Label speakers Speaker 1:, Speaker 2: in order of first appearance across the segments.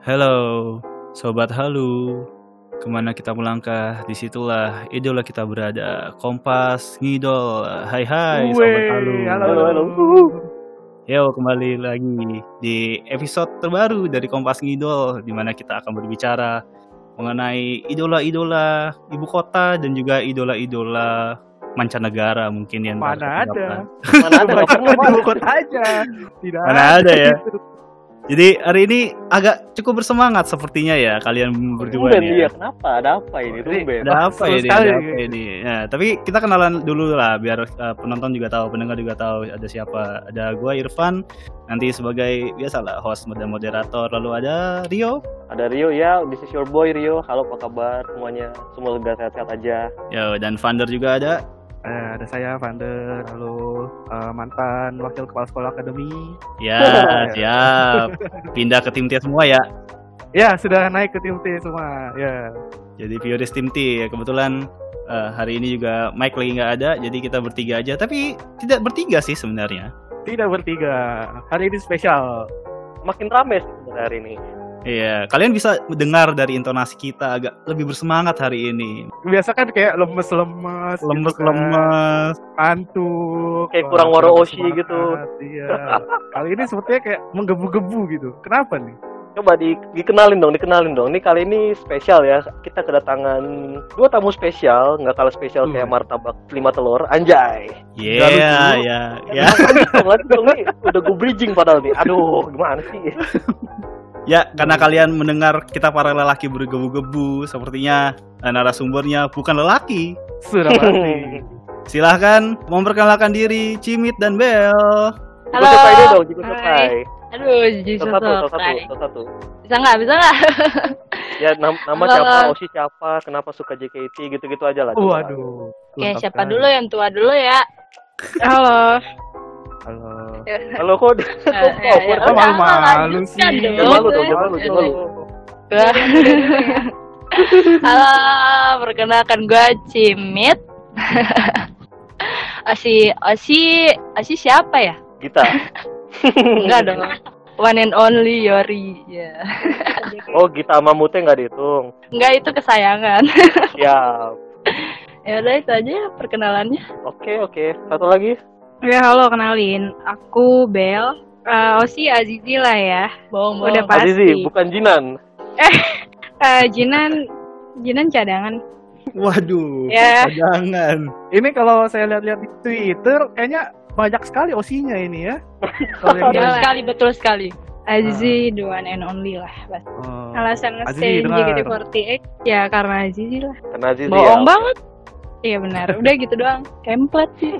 Speaker 1: Halo, sobat halu. Kemana kita melangkah, disitulah idola kita berada. Kompas, ngidol, hai hai, sobat
Speaker 2: Wey,
Speaker 1: halu.
Speaker 2: halo, Uh,
Speaker 3: Halo, halo.
Speaker 1: Yo, kembali lagi di episode terbaru dari Kompas Ngidol, di mana kita akan berbicara mengenai idola-idola ibu kota dan juga idola-idola mancanegara mungkin yang
Speaker 2: Mana
Speaker 1: terhadap-
Speaker 2: ada?
Speaker 3: Mana ada
Speaker 2: Banyak
Speaker 3: dokter?
Speaker 2: di ibu kota aja. Tidak.
Speaker 1: Mana ada ya? Jadi hari ini agak cukup bersemangat sepertinya ya kalian berdua
Speaker 3: Tumben,
Speaker 1: nih.
Speaker 3: iya
Speaker 1: ya.
Speaker 3: kenapa? Ada apa ini?
Speaker 2: Ini
Speaker 3: Tumben.
Speaker 1: Ada apa
Speaker 2: Iya, Seru
Speaker 1: ini?
Speaker 2: sekali.
Speaker 1: Ada apa ini? Nah, tapi kita kenalan dulu lah biar uh, penonton juga tahu, pendengar juga tahu ada siapa. Ada gua Irfan nanti sebagai biasalah host dan moderator. Lalu ada Rio.
Speaker 3: Ada Rio ya, this is your boy Rio. Halo, apa kabar semuanya? Semoga sehat-sehat aja.
Speaker 1: Ya, dan Vander juga ada.
Speaker 2: Eh, ada saya Vander, lalu eh, mantan wakil kepala sekolah akademi.
Speaker 1: Ya, siap. Pindah ke tim T semua ya.
Speaker 2: Ya, sudah naik ke tim T semua. Ya.
Speaker 1: Jadi Fioris tim T kebetulan uh, hari ini juga Mike lagi nggak ada, jadi kita bertiga aja. Tapi tidak bertiga sih sebenarnya.
Speaker 2: Tidak bertiga. Hari ini spesial.
Speaker 3: Makin rame sebenarnya hari ini.
Speaker 1: Iya, kalian bisa dengar dari intonasi kita agak lebih bersemangat hari ini.
Speaker 2: Biasa kan kayak lemes-lemes, gitu kan.
Speaker 1: Lemes-lemes.
Speaker 2: ngantuk,
Speaker 3: Kayak
Speaker 2: wah,
Speaker 3: kurang
Speaker 2: kurang
Speaker 3: waro oshi
Speaker 2: semangat,
Speaker 3: gitu.
Speaker 2: Iya. Kali ini sepertinya kayak menggebu-gebu gitu. Kenapa nih?
Speaker 3: Coba di, dikenalin dong, dikenalin dong. Ini kali ini spesial ya. Kita kedatangan dua tamu spesial, nggak kalah spesial
Speaker 2: Hmm.
Speaker 3: kayak martabak lima telur. Anjay.
Speaker 1: Iya,
Speaker 2: Garut dulu.
Speaker 1: ya, ya.
Speaker 3: Lanjut dong, lanjut dong nih. Udah gue bridging padahal nih. Aduh, gimana sih?
Speaker 1: Ya, karena kalian mendengar kita para lelaki bergebu-gebu, sepertinya eh, narasumbernya bukan lelaki.
Speaker 2: Sudah pasti.
Speaker 1: Silahkan memperkenalkan diri Cimit dan Bel.
Speaker 3: Halo.
Speaker 4: Halo.
Speaker 3: Ikutin dong, ikutin
Speaker 4: Hai.
Speaker 3: selesai.
Speaker 4: Aduh, jadi
Speaker 3: Salah satu, salah
Speaker 4: sotoy.
Speaker 3: satu, salah satu.
Speaker 4: Bisa nggak? Bisa nggak?
Speaker 3: ya nam- nama
Speaker 4: Halo.
Speaker 3: siapa Osi siapa kenapa suka JKT gitu-gitu aja lah coba.
Speaker 2: Waduh.
Speaker 4: Oke,
Speaker 2: Lengkap kan?
Speaker 4: siapa
Speaker 2: sekali.
Speaker 4: dulu yang tua dulu ya? Halo.
Speaker 2: Halo.
Speaker 3: halo kok kok
Speaker 4: ya, ya,
Speaker 3: cover
Speaker 2: Kok
Speaker 4: udah,
Speaker 2: malu-malu sih?
Speaker 4: lanjutkan dong.
Speaker 3: Jangan malu dong, jangan malu, jangan malu.
Speaker 4: Halo, perkenalkan gue Cimit. Osi, Osi, Osi siapa ya?
Speaker 3: Gita
Speaker 4: Enggak dong. One and only Yori. Ya.
Speaker 3: oh Gita sama Mute nggak dihitung
Speaker 4: Enggak itu kesayangan.
Speaker 3: siap
Speaker 4: ya udah itu aja ya perkenalannya.
Speaker 3: oke oke satu lagi
Speaker 5: Ya halo kenalin, aku Bel. Eh, Osi Azizi lah ya.
Speaker 4: Bohong,
Speaker 5: Udah
Speaker 4: bohong.
Speaker 5: Pasti.
Speaker 3: Azizi bukan Jinan
Speaker 5: Eh, Jinan, Jinan cadangan.
Speaker 1: Waduh,
Speaker 5: Ya.
Speaker 1: jangan.
Speaker 2: Ini kalau saya lihat-lihat di Twitter, kayaknya banyak sekali osinya ini ya. Kalau yang gitu.
Speaker 4: Betul
Speaker 5: Udah.
Speaker 4: sekali, betul sekali.
Speaker 5: Ah. Azizi the one and only lah. pasti.
Speaker 2: Oh.
Speaker 5: Alasan
Speaker 2: Azizi,
Speaker 5: nge-stay
Speaker 2: dengar.
Speaker 5: JKT48 ya karena Azizi lah.
Speaker 3: karena Azizi
Speaker 4: Bohong
Speaker 3: ya.
Speaker 4: banget.
Speaker 5: Iya benar. Udah gitu doang.
Speaker 4: Template sih.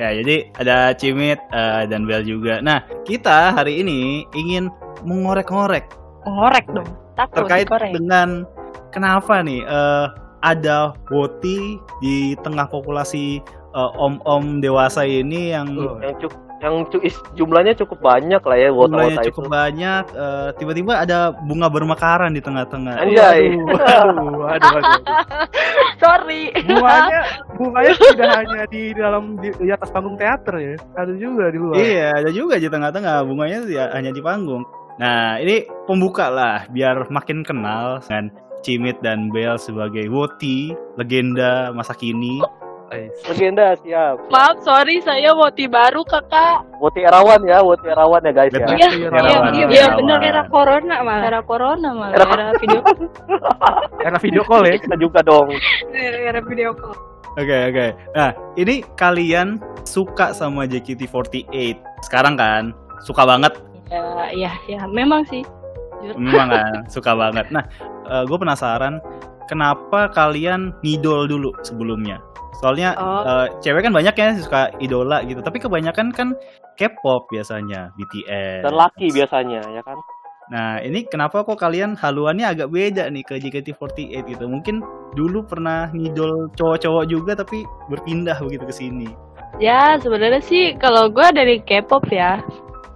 Speaker 1: Ya, jadi ada Cimit eh, dan Bel juga. Nah, kita hari ini ingin mengorek-ngorek
Speaker 4: Ngorek dong. Takut
Speaker 1: terkait
Speaker 4: dikorek.
Speaker 1: dengan kenapa nih eh, ada woti di tengah populasi eh, om-om dewasa ini yang
Speaker 2: Oh.
Speaker 3: yang cuk yang cu- is- jumlahnya cukup banyak lah ya wota
Speaker 1: jumlahnya
Speaker 3: wota itu
Speaker 1: cukup banyak eh, tiba-tiba ada bunga bermekaran di tengah-tengah.
Speaker 3: Anj- Anjay.
Speaker 2: Aduh, aduh, aduh, aduh.
Speaker 4: Sorry.
Speaker 2: Bunganya, bunganya tidak hanya di dalam di, di atas panggung teater ya, ada juga di luar.
Speaker 1: Iya, ada juga di tengah-tengah bunganya ya, hanya di panggung. Nah, ini pembuka lah biar makin kenal dengan Cimit dan Bel sebagai woti legenda masa kini.
Speaker 2: Ais.
Speaker 3: legenda siap
Speaker 4: Maaf, sorry saya woti baru kakak.
Speaker 3: Woti Erawan ya Woti Erawan ya guys ya
Speaker 1: Betul.
Speaker 4: Iya,
Speaker 2: Iya,
Speaker 4: iya,
Speaker 1: Terawan,
Speaker 4: iya,
Speaker 5: Iya
Speaker 4: iya,
Speaker 1: Terawan.
Speaker 5: benar
Speaker 4: bener.
Speaker 5: era corona malah.
Speaker 4: Era corona malah,
Speaker 3: Era-
Speaker 4: era video.
Speaker 2: Era video call ya.
Speaker 3: kita juga dong
Speaker 5: Era, era video call.
Speaker 1: Oke oke. Nah ini kalian suka sama JKT48 sekarang kan? Suka banget,
Speaker 4: Ya, iya, iya, memang sih.
Speaker 1: memang kan? suka banget. Nah, gue penasaran kenapa kalian ngidol dulu sebelumnya? Soalnya
Speaker 4: Oh.
Speaker 1: eh, cewek kan banyak ya suka idola gitu, tapi kebanyakan kan K-pop biasanya, BTS.
Speaker 3: dan laki biasanya ya kan
Speaker 1: Nah ini kenapa kok kalian haluannya agak beda nih ke JKT48 gitu? Mungkin dulu pernah ngidol cowok-cowok juga tapi berpindah begitu ke sini.
Speaker 4: Ya, sebenarnya sih kalau gua dari K-pop ya,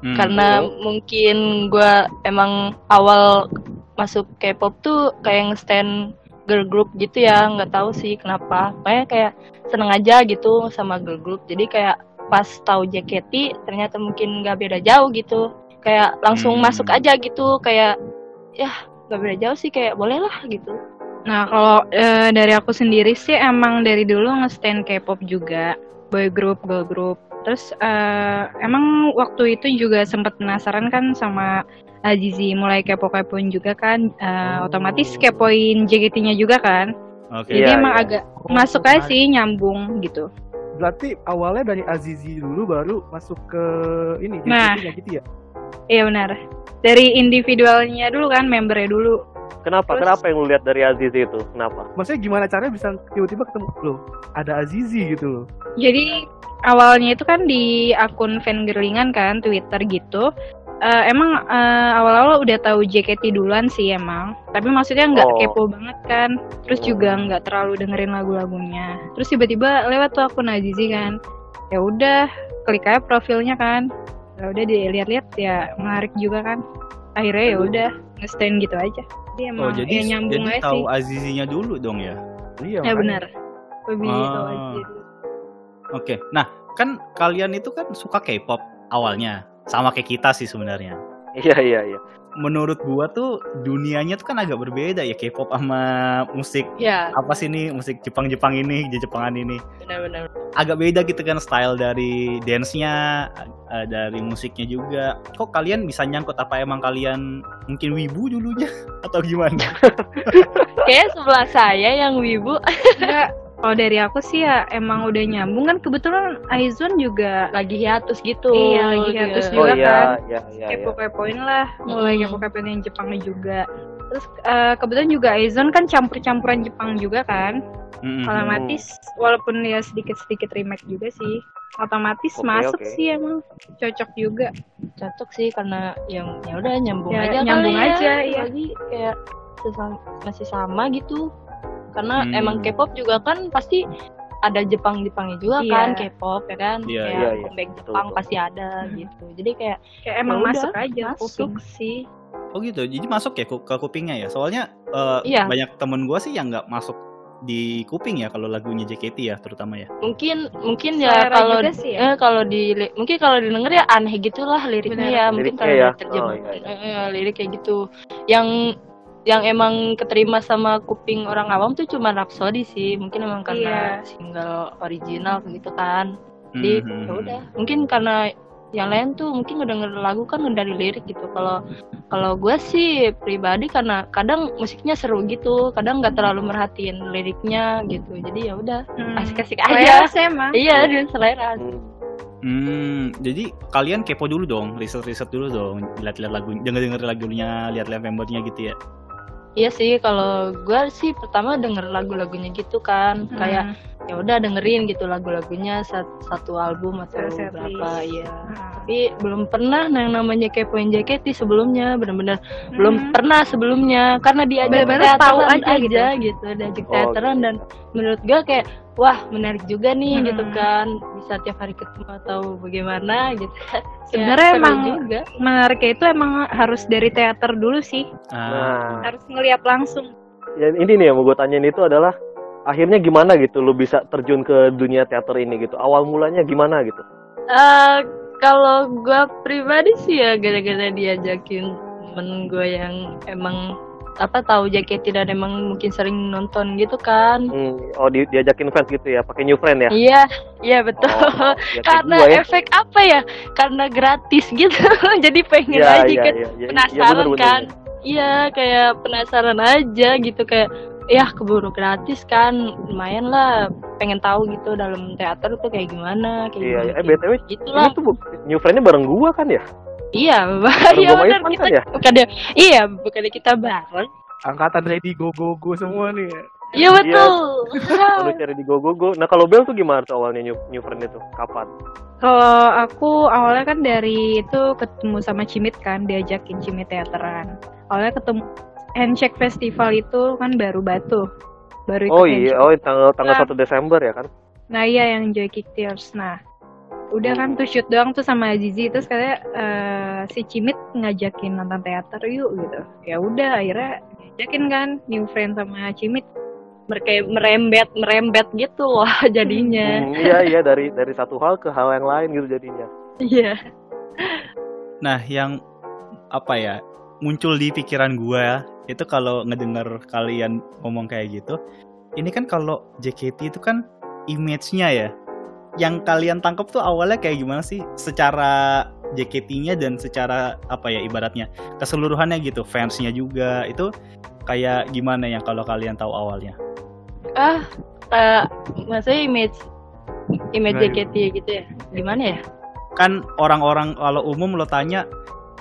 Speaker 1: Hmm.
Speaker 5: Kan
Speaker 4: karena mungkin gua emang awal masuk K-pop tuh kayak nge-stand girl group gitu ya, nggak tahu sih kenapa. Makanya kayak seneng aja gitu sama girl group. Jadi kayak pas tahu JKT ternyata mungkin nggak beda jauh gitu. Kayak langsung
Speaker 1: Hmm.
Speaker 4: masuk aja gitu, kayak ya gak beda jauh sih kayak boleh lah gitu
Speaker 5: Nah, kalau eh, dari aku sendiri sih emang dari dulu nge-stand K-pop juga, boy group, girl group. Terus eh, emang waktu itu juga sempat penasaran kan sama Azizi mulai kepo-kepoin juga kan, eh,
Speaker 2: Oh.
Speaker 5: otomatis kepoin JKT-nya juga kan.
Speaker 1: Oke.
Speaker 5: Jadi
Speaker 3: Iya,
Speaker 5: emang
Speaker 3: iya.
Speaker 5: agak masuk aja sih nyambung gitu.
Speaker 2: Berarti awalnya dari Azizi dulu baru masuk ke ini JKT
Speaker 5: Nah.
Speaker 2: ya gitu ya.
Speaker 5: Iya benar. Dari individualnya dulu kan, membernya dulu.
Speaker 3: Kenapa?
Speaker 5: Terus-
Speaker 3: Kenapa yang lu lihat dari Azizi itu? Kenapa?
Speaker 2: Maksudnya gimana caranya bisa tiba-tiba ketemu loh ada Azizi gitu loh.
Speaker 5: Jadi awalnya itu kan di akun fangirlingan kan Twitter gitu. Eh, emang eh, awal-awal udah tahu JKT duluan sih emang. Tapi maksudnya nggak
Speaker 3: Oh.
Speaker 5: kepo banget kan. Terus juga nggak terlalu dengerin lagu-lagunya. Terus tiba-tiba lewat tuh akun Azizi kan. Ya udah klik aja profilnya kan. Ya udah dilihat-lihat ya menarik juga kan. Akhirnya ya udah nge-stand gitu aja. Jadi emang
Speaker 1: Oh,
Speaker 5: ya
Speaker 1: jadi
Speaker 5: nyambung
Speaker 1: jadi
Speaker 5: aja
Speaker 1: tahu
Speaker 5: sih.
Speaker 1: Azizinya dulu dong ya.
Speaker 2: Iya.
Speaker 5: Ya
Speaker 2: makanya.
Speaker 5: benar. Lebih tahu
Speaker 1: Ah.
Speaker 5: aja.
Speaker 1: Oke. Nah, kan kalian itu kan suka K-pop awalnya. Sama kayak kita sih sebenarnya.
Speaker 3: Iya iya iya.
Speaker 1: Menurut gua tuh dunianya tuh kan agak berbeda ya K-pop sama musik
Speaker 4: ya
Speaker 1: apa sih ini musik Jepang-Jepang ini, Jepangan ini.
Speaker 4: benar-benar
Speaker 1: Agak beda gitu kan style dari dance-nya, eh, dari musiknya juga. Kok kalian bisa nyangkut apa emang kalian mungkin wibu dulunya atau gimana?
Speaker 4: kayak sebelah saya yang wibu eh,
Speaker 5: Enggak, kalau dari aku sih ya emang udah nyambung kan kebetulan Aizun juga
Speaker 4: lagi hiatus gitu
Speaker 5: Iya, lagi hiatus
Speaker 4: Dia-
Speaker 3: Oh
Speaker 5: juga
Speaker 3: iya iya iya. iya.
Speaker 5: kepo-kepoin lah, mulai
Speaker 4: Mm-mm.
Speaker 5: kepo-kepoin yang Jepangnya juga. Terus eh, kebetulan juga Aizun kan campur-campuran Jepang juga kan,
Speaker 1: Mm-mm.
Speaker 5: otomatis walaupun dia sedikit-sedikit remake juga sih, otomatis
Speaker 3: Oke,
Speaker 5: masuk
Speaker 3: oke.
Speaker 5: sih emang cocok juga.
Speaker 3: iya.
Speaker 4: cocok sih karena yang ya udah nyambung
Speaker 5: Ya,
Speaker 4: aja
Speaker 5: nyambung
Speaker 4: kali
Speaker 5: aja,
Speaker 4: ya.
Speaker 5: iya.
Speaker 4: Apalagi kayak sesam- masih sama gitu karena
Speaker 1: Hmm.
Speaker 4: emang K-pop juga kan pasti ada Jepang Jepangnya juga
Speaker 5: Iya.
Speaker 4: kan K-pop ya kan
Speaker 1: Iya,
Speaker 4: kayak
Speaker 3: iya, iya.
Speaker 4: comeback
Speaker 3: Betul,
Speaker 4: Jepang
Speaker 3: betul.
Speaker 4: pasti ada gitu jadi kayak
Speaker 5: Kayak emang
Speaker 4: Ya udah,
Speaker 5: masuk aja
Speaker 4: masuk
Speaker 5: kuping.
Speaker 4: sih
Speaker 1: Oh gitu, jadi masuk ya ku- ke kupingnya ya. Soalnya eh,
Speaker 4: Iya.
Speaker 1: banyak temen gue sih yang nggak masuk di kuping ya kalau lagunya JKT ya terutama ya.
Speaker 4: mungkin mungkin ya
Speaker 5: Selera
Speaker 4: kalau
Speaker 5: juga sih ya.
Speaker 4: eh, kalau di mungkin kalau didengar ya aneh gitulah liriknya
Speaker 5: Benar.
Speaker 4: ya mungkin
Speaker 3: Liriknya
Speaker 4: kalau
Speaker 3: ya.
Speaker 4: diterjemah
Speaker 3: Oh, iya, iya.
Speaker 4: eh, eh, lirik kayak gitu yang yang emang keterima sama kuping orang awam tuh cuma Rhapsody sih mungkin emang karena
Speaker 5: Iya.
Speaker 4: single original gitu kan jadi
Speaker 3: Hmm,
Speaker 1: Mhm.
Speaker 4: ya udah mungkin karena yang lain tuh mungkin ngedenger lagu kan dari lirik gitu kalau kalau gue sih pribadi karena kadang musiknya seru gitu kadang nggak terlalu merhatiin liriknya gitu jadi ya udah
Speaker 5: Hmm.
Speaker 4: asik-asik
Speaker 5: Selera
Speaker 4: aja
Speaker 5: sih emang.
Speaker 4: Iya, dia selera.
Speaker 3: Hmm.
Speaker 1: Hmm, jadi kalian kepo dulu dong, riset-riset dulu dong, lihat-lihat lagu, denger-denger lagunya, lihat-lihat membernya gitu ya.
Speaker 4: Iya sih, kalau gue sih pertama denger lagu-lagunya gitu kan,
Speaker 5: Hmm.
Speaker 4: kayak ya udah dengerin gitu lagu-lagunya sat- satu album atau
Speaker 5: Terus set
Speaker 4: berapa,
Speaker 5: list.
Speaker 4: iya.
Speaker 5: Hmm.
Speaker 4: Tapi belum pernah nah yang namanya kepoin JKT sebelumnya, bener-bener belum
Speaker 5: Hmm.
Speaker 4: pernah sebelumnya karena diajak
Speaker 5: Bener-bener
Speaker 4: teateran
Speaker 5: tahu aja
Speaker 4: gitu, diajak
Speaker 3: Oh,
Speaker 4: teateran
Speaker 3: gitu.
Speaker 4: dan menurut gue kayak wah menarik juga nih
Speaker 5: Hmm.
Speaker 4: gitu kan bisa tiap hari ketemu atau bagaimana gitu. Ya,
Speaker 5: Sebenarnya
Speaker 4: seru
Speaker 5: emang-
Speaker 4: juga.
Speaker 5: Menariknya itu emang harus dari teater dulu sih,
Speaker 1: Ah,
Speaker 3: Nah,
Speaker 5: harus ngeliat langsung.
Speaker 3: ya ini nih yang mau gue tanyain itu adalah akhirnya gimana gitu lu bisa terjun ke dunia teater ini gitu awal mulanya gimana gitu
Speaker 4: Eh, kalau gue pribadi sih ya gara-gara diajakin temen gue yang emang apa tahu JKT dan emang mungkin sering nonton gitu kan
Speaker 3: hmm, oh di- diajakin fans gitu ya pakai new friend ya
Speaker 4: iya iya betul
Speaker 3: Oh, ya kayak
Speaker 4: karena
Speaker 3: gua ya.
Speaker 4: efek apa ya karena gratis gitu jadi pengen
Speaker 3: Iya,
Speaker 4: aja
Speaker 3: iya,
Speaker 4: kan
Speaker 3: iya, iya, iya,
Speaker 4: penasaran
Speaker 3: bener-bener.
Speaker 4: kan iya kayak penasaran aja gitu kayak ya keburu gratis kan lumayan lah pengen tahu gitu dalam teater tuh kayak gimana kayak
Speaker 3: Iya, iya. eh
Speaker 4: gimana,
Speaker 3: BTW
Speaker 4: gitu
Speaker 3: ini
Speaker 4: lah
Speaker 3: tuh bu- new friendnya bareng gua kan ya?
Speaker 4: Iya,
Speaker 3: Baru
Speaker 4: iya
Speaker 3: gua
Speaker 4: benar
Speaker 3: Irfan
Speaker 4: kita
Speaker 3: kan ya?
Speaker 4: bukannya iya bukannya kita bareng.
Speaker 2: Angkatan ready go go go semua nih. ya.
Speaker 4: Iya betul. Iya.
Speaker 3: Lalu cari di GoGoGo. Nah kalau Bel tuh gimana tuh awalnya new, new friend itu? Kapan?
Speaker 5: Kalau aku awalnya kan dari itu ketemu sama Cimit kan, diajakin Cimit teateran. Awalnya ketemu Handshake Festival itu kan baru batu. Baru ikut
Speaker 3: Oh iya,
Speaker 5: handshake.
Speaker 3: oh tanggal tanggal
Speaker 5: Nah.
Speaker 3: 1 Desember ya kan?
Speaker 5: Nah iya yang Joy Kick Tears. Nah udah kan tuh shoot doang tuh sama Zizi terus katanya eh, si Cimit ngajakin nonton teater yuk gitu. Ya udah akhirnya diajakin kan new friend sama Cimit.
Speaker 4: Mereka merembet merembet gitu loh jadinya.
Speaker 3: Hmm, iya iya dari dari satu hal ke hal yang lain gitu jadinya.
Speaker 4: Iya.
Speaker 1: nah yang apa ya? muncul di pikiran gua itu kalau ngedengar kalian ngomong kayak gitu ini kan kalau JKT itu kan image-nya ya yang kalian tangkap tuh awalnya kayak gimana sih secara JKT-nya dan secara apa ya ibaratnya keseluruhannya gitu fansnya juga itu kayak gimana yang kalau kalian tahu awalnya
Speaker 4: ah eh, maksudnya image image
Speaker 2: Gimana?
Speaker 4: JKT gitu ya gimana ya
Speaker 1: kan orang-orang kalau umum lo tanya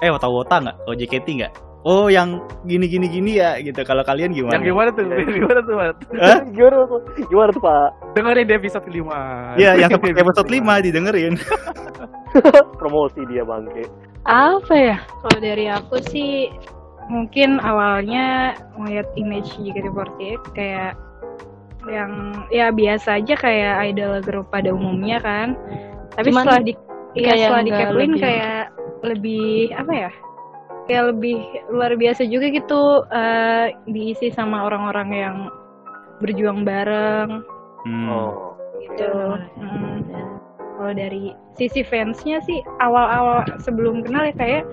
Speaker 1: eh wota wota nggak oh JKT nggak oh yang gini gini gini ya gitu kalau kalian gimana
Speaker 2: Yang gimana Iya. tuh? Yang gimana tuh, Mat?
Speaker 1: Hah?
Speaker 3: gimana tuh gimana tuh pak
Speaker 2: Dengerin di episode kelima.
Speaker 1: ya yang
Speaker 2: Dengerin
Speaker 1: sampai
Speaker 2: di
Speaker 1: episode 5 didengerin
Speaker 3: promosi dia bangke
Speaker 4: apa ya
Speaker 5: Kalau dari aku sih mungkin awalnya ngeliat image JKT48 kayak yang ya biasa aja kayak idol grup pada umumnya kan. Tapi
Speaker 4: Cuman
Speaker 5: setelah di ya,
Speaker 4: kayak
Speaker 5: setelah di
Speaker 4: nggak
Speaker 5: Capelin
Speaker 4: lebih-
Speaker 5: kayak lebih apa ya? Kayak lebih luar biasa juga gitu eh, diisi sama orang-orang yang berjuang bareng
Speaker 1: Hmm.
Speaker 3: oh
Speaker 5: gitu. Mm. kalau dari sisi fansnya sih awal-awal sebelum kenal ya kayak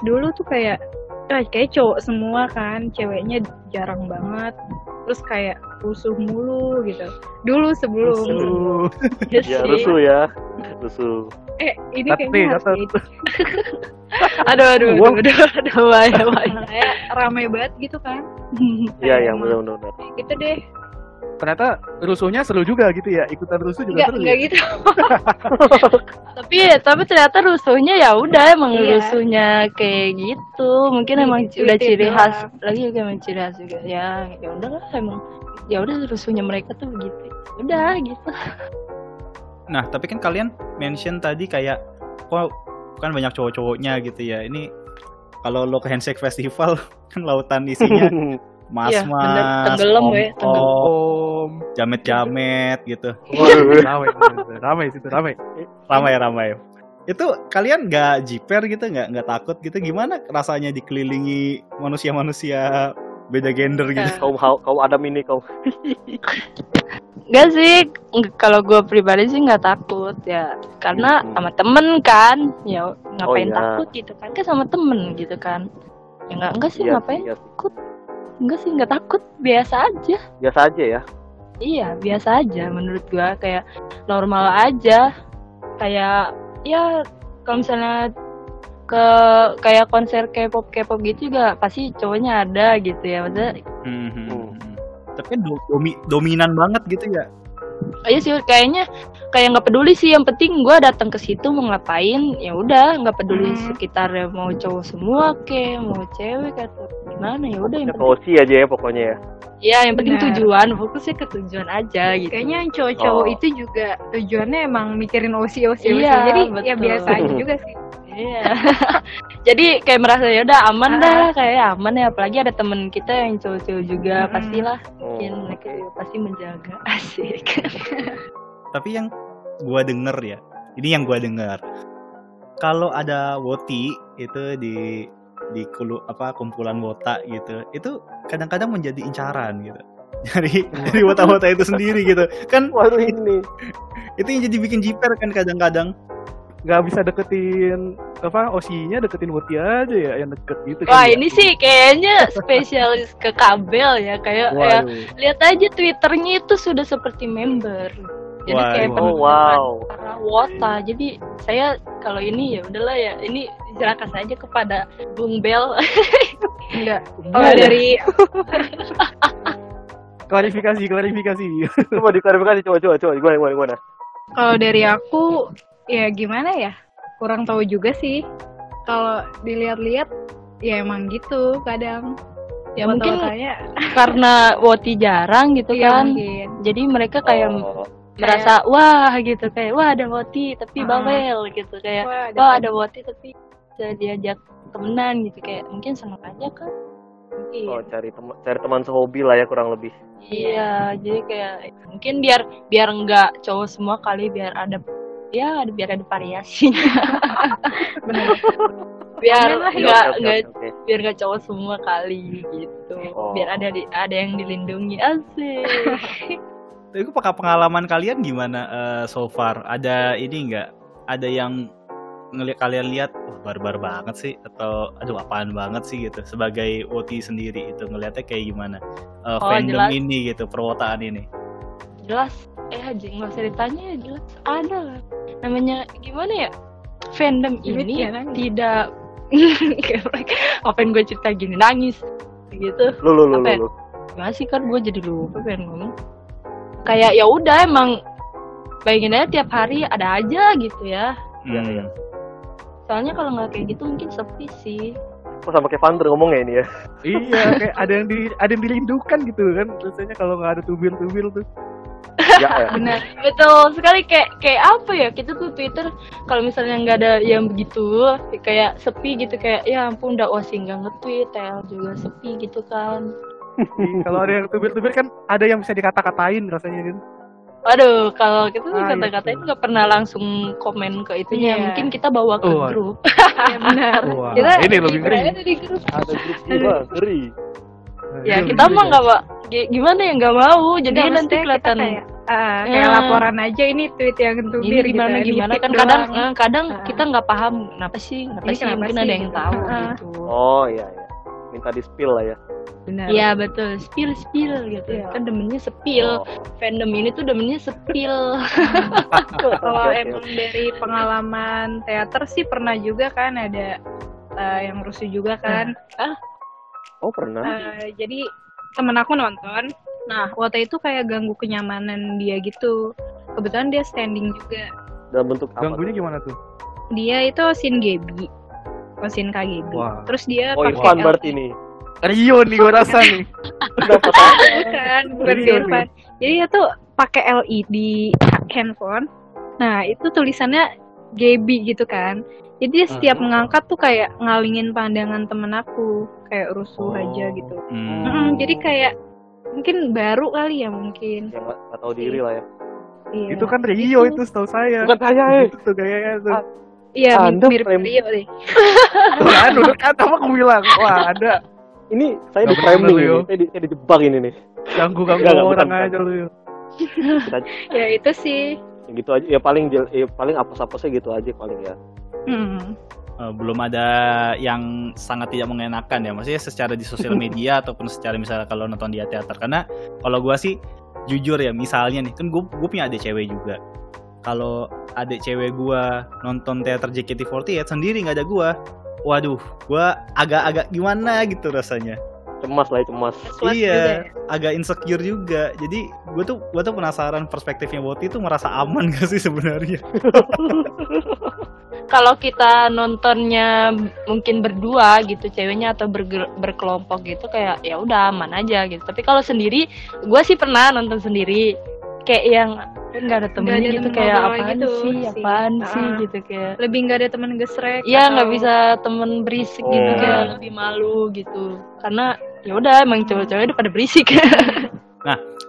Speaker 5: dulu tuh kayak ah, kayak cowok semua kan ceweknya jarang banget terus kayak rusuh mulu gitu dulu sebelum
Speaker 2: Aduh.
Speaker 5: Iya
Speaker 3: ya
Speaker 5: sih.
Speaker 3: rusuh ya rusuh
Speaker 5: eh ini
Speaker 2: Catat nih,
Speaker 5: kayaknya harus gitu.
Speaker 2: catat.
Speaker 5: diedit.
Speaker 4: aduh aduh aduh aduh aduh bahaya bahaya
Speaker 5: kayak rame banget gitu kan
Speaker 3: ya
Speaker 4: Iya,
Speaker 3: yang benar benar
Speaker 5: Kayak gitu deh
Speaker 2: Ternyata rusuhnya seru juga gitu ya. Ikutan rusuh juga
Speaker 5: nggak
Speaker 2: seru.
Speaker 5: nggak
Speaker 2: ya?
Speaker 5: gitu
Speaker 4: tapi tapi ternyata rusuhnya ya udah emang
Speaker 5: Iya.
Speaker 4: rusuhnya kayak gitu mungkin
Speaker 5: Iya,
Speaker 4: emang
Speaker 5: gitu,
Speaker 4: udah
Speaker 5: itu
Speaker 4: ciri
Speaker 5: doang.
Speaker 4: khas lagi juga emang ciri khas juga ya ya udahlah emang ya udah rusuhnya mereka tuh begitu udah gitu
Speaker 1: Nah, tapi kan kalian mention tadi kayak kok kan banyak cowok-cowoknya gitu ya. Ini kalau lo ke handshake festival kan lautan isinya
Speaker 4: Iya, bener.
Speaker 1: mas-mas,
Speaker 4: Tenggelam ya,
Speaker 1: om-om,
Speaker 2: Om.
Speaker 1: jamet-jamet gitu.
Speaker 2: Ramai, ramai, ramai situ ramai.
Speaker 1: Ramai-ramai. Itu kalian nggak jiper gitu, nggak nggak takut gitu? Gimana rasanya dikelilingi manusia-manusia beda gender gitu?
Speaker 4: Iya.
Speaker 3: kaum hau- kaum adam ini kaum
Speaker 4: Enggak sih, nge- kalau gue pribadi sih nggak takut ya, karena
Speaker 3: Hmm.
Speaker 4: sama temen kan, ya ngapain
Speaker 3: iya.
Speaker 4: takut gitu kan, kan sama temen gitu kan. Ya nggak enggak sih
Speaker 3: Iya,
Speaker 4: ngapain,
Speaker 3: iya sih.
Speaker 4: enggak sih nggak takut, biasa aja.
Speaker 3: biasa aja ya
Speaker 4: Iya biasa aja menurut gua kayak normal aja, kayak ya kalau misalnya ke kayak konser K-pop K-pop gitu juga pasti cowoknya ada gitu ya, maksudnya
Speaker 1: Hmm, hmm, hmm. Tapi kan do- domi- dominan banget gitu ya.
Speaker 4: Iya sih kayaknya kayak nggak peduli sih yang penting gua datang ke situ mau ngapain ya udah nggak peduli
Speaker 5: Hmm.
Speaker 4: sekitar mau cowok semua ke mau cewek atau gimana ya udah yang penting
Speaker 3: promosi aja ya pokoknya ya
Speaker 4: ya yang penting
Speaker 5: Benar.
Speaker 4: tujuan fokusnya ke tujuan aja gitu
Speaker 5: kayaknya yang cowok-cowok
Speaker 3: Oh.
Speaker 5: itu juga tujuannya emang mikirin osi osi
Speaker 4: Iya,
Speaker 5: jadi ya
Speaker 4: betul.
Speaker 5: biasa aja juga sih
Speaker 4: Iya. jadi kayak merasa ya udah aman
Speaker 5: Ah.
Speaker 4: dah kayak aman ya apalagi ada temen kita yang cowok-cowok juga
Speaker 5: Mm-mm.
Speaker 4: pastilah
Speaker 3: Hmm,
Speaker 4: mungkin mereka juga pasti menjaga asik
Speaker 1: tapi yang gua denger ya ini yang gua denger kalau ada woti itu di di kulu, apa kumpulan wota gitu itu kadang-kadang menjadi incaran gitu dari dari wota-wota itu sendiri gitu kan
Speaker 3: Oh. waduh ini
Speaker 1: itu yang jadi bikin jiper kan kadang-kadang
Speaker 2: Gak bisa deketin apa osinya deketin Woti aja ya yang deket gitu.
Speaker 4: wah
Speaker 2: kali ya.
Speaker 4: ini sih kayaknya spesialis ke kabel ya kayak ya
Speaker 3: waduh
Speaker 4: lihat aja twitternya itu sudah seperti member jadi
Speaker 1: Wah, wah.
Speaker 4: kayak
Speaker 3: oh
Speaker 4: penuh
Speaker 3: wow
Speaker 4: para wota jadi saya kalau ini ya udahlah ya ini serahkan saja kepada Bung Bel
Speaker 5: enggak
Speaker 4: Enggak
Speaker 5: kalau
Speaker 4: ada.
Speaker 5: dari
Speaker 2: Klarifikasi, klarifikasi.
Speaker 3: coba diklarifikasi coba coba coba gimana gimana gimana
Speaker 5: Kalau dari aku ya gimana ya? Kurang tahu juga sih. Kalau dilihat-lihat ya emang gitu kadang.
Speaker 4: ya mungkin
Speaker 5: kayak
Speaker 4: karena woti jarang gitu
Speaker 5: iya
Speaker 4: kan
Speaker 5: mungkin.
Speaker 4: jadi mereka kayak
Speaker 3: Oh.
Speaker 4: merasa wah gitu kayak wah ada woti tapi
Speaker 5: Ah.
Speaker 4: bawel gitu kayak
Speaker 5: Wah, ada
Speaker 4: wah ada woti tapi bisa diajak temenan gitu kayak mungkin seneng aja kan mungkin
Speaker 3: Oh, cari teman cari teman sehobi lah ya kurang lebih.
Speaker 4: Iya, jadi kayak mungkin biar biar nggak cowok semua kali biar ada ya ada biar ada variasinya.
Speaker 5: bener. Amin
Speaker 4: biar
Speaker 5: lah,
Speaker 3: Oke,
Speaker 4: nggak
Speaker 3: Iya, oke,
Speaker 4: nggak
Speaker 3: oke, oke.
Speaker 4: biar nggak cowok semua kali gitu.
Speaker 3: Oh.
Speaker 4: Biar ada di, ada yang dilindungi asik.
Speaker 1: tapi apakah pengalaman kalian gimana eh, so far ada ini enggak ada yang ngelihat kalian lihat wah barbar banget sih atau aduh apaan banget sih gitu sebagai OT sendiri itu ngelihatnya kayak gimana Eh,
Speaker 4: Oh,
Speaker 1: fandom
Speaker 4: jelas.
Speaker 1: ini gitu perwotaan ini
Speaker 4: jelas eh aja nggak usah ditanya jelas ada lah namanya gimana ya fandom
Speaker 5: Duit
Speaker 4: ini
Speaker 5: ya, nangis.
Speaker 4: tidak Geprek. ngapain gue cerita gini nangis gitu
Speaker 3: Lu lu lu
Speaker 4: Apa ya?
Speaker 3: lu. lu.
Speaker 4: gimana sih kan gue jadi lupa pengen ngomong kayak ya udah emang bayangin aja tiap hari ada aja gitu ya
Speaker 3: Iya,
Speaker 1: Hmm.
Speaker 3: iya.
Speaker 4: soalnya kalau nggak kayak gitu mungkin sepi sih
Speaker 3: Kok sama kayak Vander ngomongnya ini ya?
Speaker 2: iya kayak ada yang di ada yang dirindukan gitu kan rasanya kalau nggak ada tubil-tubil tuh
Speaker 3: ya, ya.
Speaker 5: benar
Speaker 4: betul sekali kayak kayak apa ya kita tuh twitter kalau misalnya nggak ada yang begitu kayak sepi gitu kayak ya ampun udah osing nggak nge-tweet TL juga sepi gitu kan
Speaker 2: Jadi kalau ada yang tubil-tubil kan ada yang bisa dikata-katain rasanya kan
Speaker 4: Waduh, kalau kita sih
Speaker 2: Ah, iya.
Speaker 4: kata-katanya nggak pernah langsung komen ke itunya.
Speaker 5: Iya.
Speaker 4: Mungkin kita bawa ke
Speaker 2: Oh, waduh.
Speaker 4: grup.
Speaker 5: ya, benar
Speaker 2: Wah,
Speaker 5: Kita-
Speaker 2: ini lebih
Speaker 5: kita
Speaker 2: ngeri.
Speaker 5: ada di grup
Speaker 3: Ada grup juga, ngeri.
Speaker 2: Nah,
Speaker 4: Ya
Speaker 2: ini
Speaker 4: kita
Speaker 2: lebih
Speaker 4: mah
Speaker 2: ngeri.
Speaker 4: nggak mau. Gi- Gimana ya nggak mau. Jadi
Speaker 5: Nggak,
Speaker 4: nanti
Speaker 5: maksudnya kita
Speaker 4: kelihatan
Speaker 5: kayak, ah, kayak
Speaker 4: Ya.
Speaker 5: laporan aja ini tweet yang
Speaker 4: ini
Speaker 5: tubir
Speaker 4: gimana
Speaker 5: gitu,
Speaker 4: gimana
Speaker 5: ini
Speaker 4: kan
Speaker 5: tweet
Speaker 4: kadang
Speaker 5: doang.
Speaker 4: eh, kadang
Speaker 5: Ah.
Speaker 4: kita nggak paham kenapa sih kenapa
Speaker 5: Ini
Speaker 4: sih
Speaker 5: kenapa
Speaker 4: mungkin
Speaker 5: sih,
Speaker 4: ada yang
Speaker 5: gitu.
Speaker 4: tahu
Speaker 5: Ah.
Speaker 4: gitu.
Speaker 3: Oh iya iya. Minta di spill lah ya.
Speaker 5: benar
Speaker 4: Iya betul, spill spill gitu.
Speaker 5: Iya.
Speaker 4: Kan demennya sepil.
Speaker 3: Oh,
Speaker 4: Fandom ini tuh demennya sepil.
Speaker 5: kalau
Speaker 3: Oke, oke,
Speaker 5: emang dari pengalaman teater sih pernah juga kan ada eh, yang rusuh juga kan
Speaker 3: Oh pernah.
Speaker 4: Ah.
Speaker 5: Eh, jadi temen aku nonton nah waktu itu kayak ganggu kenyamanan dia gitu kebetulan dia standing juga
Speaker 3: Dalam bentuk apa?
Speaker 2: ganggunya gimana tuh
Speaker 5: dia itu sin Oh, Gebi Osin KGB.
Speaker 2: Wah.
Speaker 5: Terus dia
Speaker 3: Oh
Speaker 5: pakai
Speaker 3: Irfan
Speaker 5: L- E
Speaker 3: berarti ini.
Speaker 2: Rio nih gue rasa nih
Speaker 3: Kenapa tak?
Speaker 5: bukan
Speaker 2: Iya,
Speaker 5: bukan si
Speaker 2: iya.
Speaker 5: Irfan jadi dia tuh pakai LED handphone nah itu tulisannya Gebi gitu kan jadi dia setiap
Speaker 2: Hmm.
Speaker 5: mengangkat tuh kayak ngalingin pandangan temen aku kayak
Speaker 2: Oh.
Speaker 5: rusuh aja gitu
Speaker 1: Hmm.
Speaker 5: Mm-mm, jadi kayak mungkin baru kali ya mungkin
Speaker 3: Ya nggak nggak tahu diri lah ya.
Speaker 5: Iya.
Speaker 2: itu kan Rio itu setahu saya
Speaker 3: Bukan saya eh.
Speaker 2: itu tuh gayanya tuh
Speaker 3: Ah.
Speaker 5: iya mi-
Speaker 3: Anda
Speaker 5: mirip
Speaker 3: frame-
Speaker 5: Rio deh
Speaker 1: Ah,
Speaker 2: Tuh kan udah kan sama aku bilang wah ada
Speaker 3: Ini saya
Speaker 2: Nggak ya.
Speaker 3: di framing
Speaker 2: bener,
Speaker 3: ini.
Speaker 2: Leo.
Speaker 3: Saya di saya dijebak ini nih.
Speaker 2: ganggu ganggu
Speaker 3: Nggak, nggak,
Speaker 2: orang
Speaker 3: bukan,
Speaker 2: aja lu Rio.
Speaker 5: ya itu sih
Speaker 3: Ya, gitu aja. Ya paling jel- ya, paling apes-apesnya gitu aja paling ya.
Speaker 5: Hmm.
Speaker 1: Eh, belum ada yang sangat tidak mengenakan ya maksudnya secara di sosial media ataupun secara misalnya kalau nonton di teater karena kalau gua sih jujur ya misalnya nih kan gue punya adik cewek juga kalau adik cewek gua nonton teater JKT48 sendiri nggak ada gua waduh gua agak-agak gimana gitu rasanya
Speaker 3: Cemas lah ya, cemas.
Speaker 1: Iya.
Speaker 5: Sesuatu juga ya.
Speaker 1: agak insecure juga jadi gue tuh gue tuh penasaran perspektifnya Woti tuh merasa aman gak sih sebenarnya
Speaker 4: kalau kita nontonnya mungkin berdua gitu ceweknya atau berge- berkelompok gitu kayak ya udah aman aja gitu tapi kalau sendiri gue sih pernah nonton sendiri kayak yang nggak ada temennya
Speaker 5: ada
Speaker 4: gitu
Speaker 5: temen
Speaker 4: kayak
Speaker 5: ngobrol
Speaker 4: apaan
Speaker 5: gitu
Speaker 4: sih
Speaker 5: sih.
Speaker 4: apaan
Speaker 5: Ah.
Speaker 4: sih gitu kayak
Speaker 5: lebih nggak ada teman gesrek
Speaker 4: Iya nggak
Speaker 5: atau-
Speaker 4: bisa temen berisik gitu
Speaker 3: Oh.
Speaker 4: kayak lebih malu gitu karena ya udah emang cowok-cowok udah pada berisik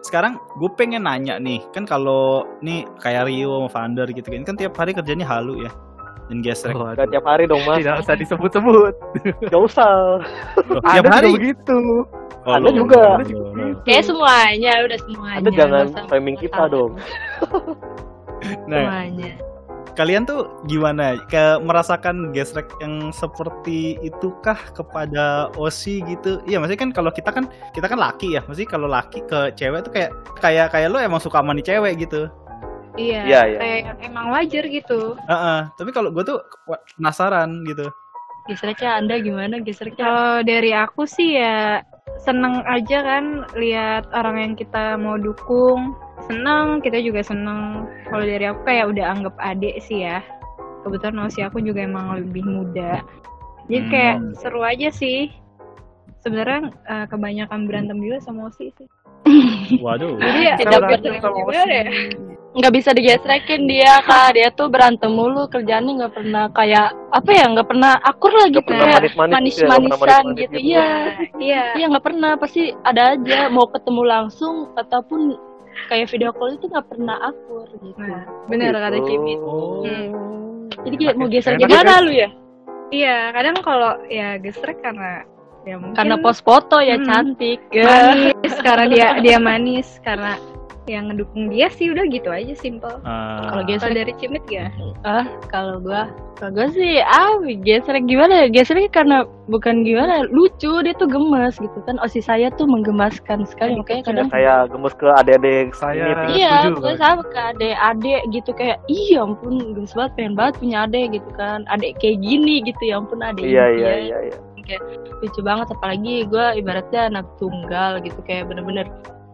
Speaker 1: sekarang gue pengen nanya nih kan kalau nih kayak Rio sama Vander gitu kan kan tiap hari kerjanya halu ya dan gesrek
Speaker 2: Oh,
Speaker 3: Gak
Speaker 2: aduh.
Speaker 3: tiap hari dong mas.
Speaker 2: tidak usah disebut-sebut
Speaker 3: Gak usah.
Speaker 4: Iya,
Speaker 1: Loh,
Speaker 2: ada
Speaker 1: tiap
Speaker 2: juga
Speaker 1: hari
Speaker 2: begitu
Speaker 1: Oh,
Speaker 3: Ada
Speaker 1: lo,
Speaker 3: juga.
Speaker 1: lo, lo, lo.
Speaker 4: kayak semuanya udah semuanya
Speaker 3: Anda jangan
Speaker 4: nggak usah
Speaker 3: framing kita
Speaker 4: masalah.
Speaker 3: dong.
Speaker 1: nah
Speaker 4: semuanya
Speaker 1: kalian tuh gimana ke merasakan gesrek yang seperti itukah kepada Osi gitu iya maksudnya kan kalau kita kan kita kan laki ya maksudnya kalau laki ke cewek tuh kayak kayak kayak lo emang suka sama nih cewek gitu
Speaker 5: iya
Speaker 3: Iya, iya.
Speaker 5: kayak yang emang wajar gitu
Speaker 1: Heeh, tapi kalau gue tuh wa- penasaran gitu.
Speaker 4: gesernya anda gimana gesernya
Speaker 5: Kalau dari aku sih ya seneng aja kan lihat orang yang kita mau dukung seneng kita juga seneng kalau dari aku kayak udah anggap adik sih ya kebetulan usia aku juga emang lebih muda jadi kayak
Speaker 1: Hmm.
Speaker 5: seru aja sih sebenarnya eh, kebanyakan berantem juga sama Osi sih
Speaker 1: Waduh.
Speaker 5: jadi ya
Speaker 4: Tidak
Speaker 5: udah
Speaker 4: berantem
Speaker 5: seneng
Speaker 2: sama
Speaker 5: juga
Speaker 2: Osi.
Speaker 4: ya.
Speaker 5: deh.
Speaker 4: nggak bisa digesrekin dia kak dia tuh berantem mulu kerjaannya nggak pernah kayak apa ya nggak pernah akur lah
Speaker 3: Gak
Speaker 4: gitu
Speaker 3: pernah
Speaker 4: kayak
Speaker 3: manis-manis. gitu ya, gak pernah
Speaker 4: manis-manisan
Speaker 3: manis-manis
Speaker 4: gitu iya
Speaker 5: iya
Speaker 4: iya nggak pernah pasti ada aja mau ketemu langsung ataupun kayak video call itu nggak pernah akur gitu
Speaker 5: nah, bener
Speaker 3: Gitu.
Speaker 5: kata Kimi
Speaker 1: Oh.
Speaker 4: Hmm. jadi kayak
Speaker 3: Nah,
Speaker 4: mau geser
Speaker 2: Enak ya,
Speaker 4: gimana lu ya
Speaker 5: iya kadang kalau ya gesrek karena ya mungkin
Speaker 4: karena pos foto ya
Speaker 5: Hmm.
Speaker 4: cantik
Speaker 5: manis karena dia dia manis karena yang ngedukung dia sih udah gitu aja simple.
Speaker 1: Eh,
Speaker 4: Kalau gitu,
Speaker 5: Kalau
Speaker 4: geser
Speaker 5: dari Cimit ya
Speaker 4: kalau gua kalau gua sih ah geser gimana ya gesernya karena bukan gimana lucu dia tuh gemes gitu kan osi saya tuh menggemaskan sekali makanya
Speaker 3: Ya,
Speaker 4: kadang
Speaker 3: saya gemes ke adik-adik
Speaker 2: Saya-
Speaker 3: ini Pi.
Speaker 4: iya
Speaker 2: setuju,
Speaker 4: gue
Speaker 2: Kak.
Speaker 4: sama ke adek-adek gitu kayak iya ampun gemes banget pengen banget punya adek gitu kan adek kayak gini gitu ya ampun adek
Speaker 3: Iya
Speaker 4: impian.
Speaker 3: iya iya iya.
Speaker 4: lucu banget apalagi gue ibaratnya anak tunggal gitu kayak bener-bener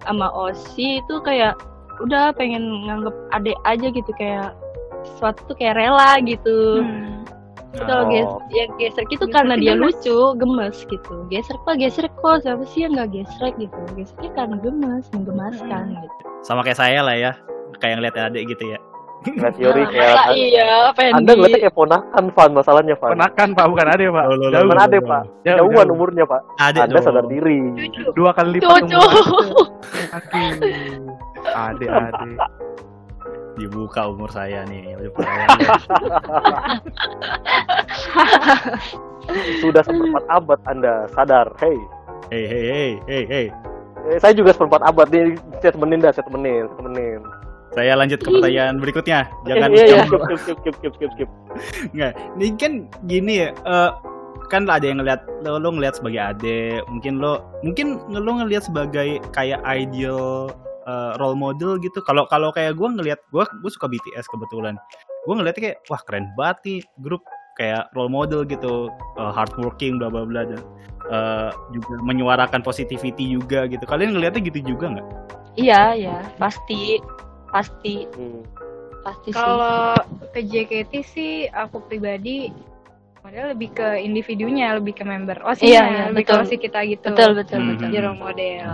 Speaker 4: sama Osi itu kayak udah pengen nganggep adek aja gitu kayak sesuatu tuh kayak rela
Speaker 3: Hmm.
Speaker 4: gitu
Speaker 5: Hmm.
Speaker 4: Terus kalau
Speaker 3: Oh.
Speaker 4: geser, ya geser gitu
Speaker 5: Geser
Speaker 4: karena
Speaker 5: tuh
Speaker 4: dia
Speaker 5: gemes.
Speaker 4: lucu gemes gitu geser kok geser kok siapa sih yang nggak gesrek gitu gesernya karena gemes menggemaskan gitu
Speaker 1: sama kayak saya lah ya kayak ngeliat adik gitu ya
Speaker 3: Ngeliat Yori
Speaker 4: Nah,
Speaker 3: kayak
Speaker 4: masa iya pengen
Speaker 3: Anda
Speaker 4: di-
Speaker 3: ngeliatnya kayak ponakan Van masalahnya Van.
Speaker 2: Ponakan pak, bukan adek pak.
Speaker 1: Loh, loh,
Speaker 2: Jauh,
Speaker 1: loh,
Speaker 3: Bukan
Speaker 1: loh,
Speaker 3: adik
Speaker 1: loh.
Speaker 3: pak.
Speaker 2: jauh,
Speaker 3: Jauhan
Speaker 2: jauh.
Speaker 3: umurnya pak.
Speaker 1: adik
Speaker 3: Anda
Speaker 1: dong.
Speaker 3: saudar diri.
Speaker 5: Cucu.
Speaker 2: Dua kali lipat
Speaker 4: Cucu.
Speaker 2: umur. Aduh. Adek adek.
Speaker 1: dibuka umur saya nih ya,
Speaker 3: Sudah seperempat abad Anda sadar. Hey.
Speaker 1: hei hei hei hei hei
Speaker 3: Eh, saya juga seperempat abad nih. Saya temenin dah, saya temenin, saya temenin.
Speaker 1: saya lanjut ke pertanyaan berikutnya jangan
Speaker 3: Eh, iya,
Speaker 1: jam-
Speaker 3: iya. Skip, skip, skip, skip, skip, skip, skip.
Speaker 1: Nggak, ini kan gini ya, eh, kan ada yang ngeliat lo, lo ngeliat sebagai ade, mungkin lo mungkin lo ngeliat sebagai kayak ideal eh, role model gitu. Kalau kalau kayak gue ngeliat gue gue suka BTS kebetulan. Gue ngeliatnya kayak wah keren banget nih grup kayak role model gitu, eh, hardworking bla bla bla dan eh, juga menyuarakan positivity juga gitu. Kalian ngeliatnya gitu juga nggak?
Speaker 4: iya iya pasti pasti
Speaker 3: Hmm.
Speaker 4: pasti Iya sih.
Speaker 5: Kalau ke JKT sih aku pribadi model lebih ke individunya, lebih ke member. Oh sih,
Speaker 4: Iya, iya,
Speaker 5: lebih
Speaker 4: betul.
Speaker 5: ke OSI kita gitu.
Speaker 4: betul betul
Speaker 1: Hmm.
Speaker 4: betul
Speaker 5: Jadi role model.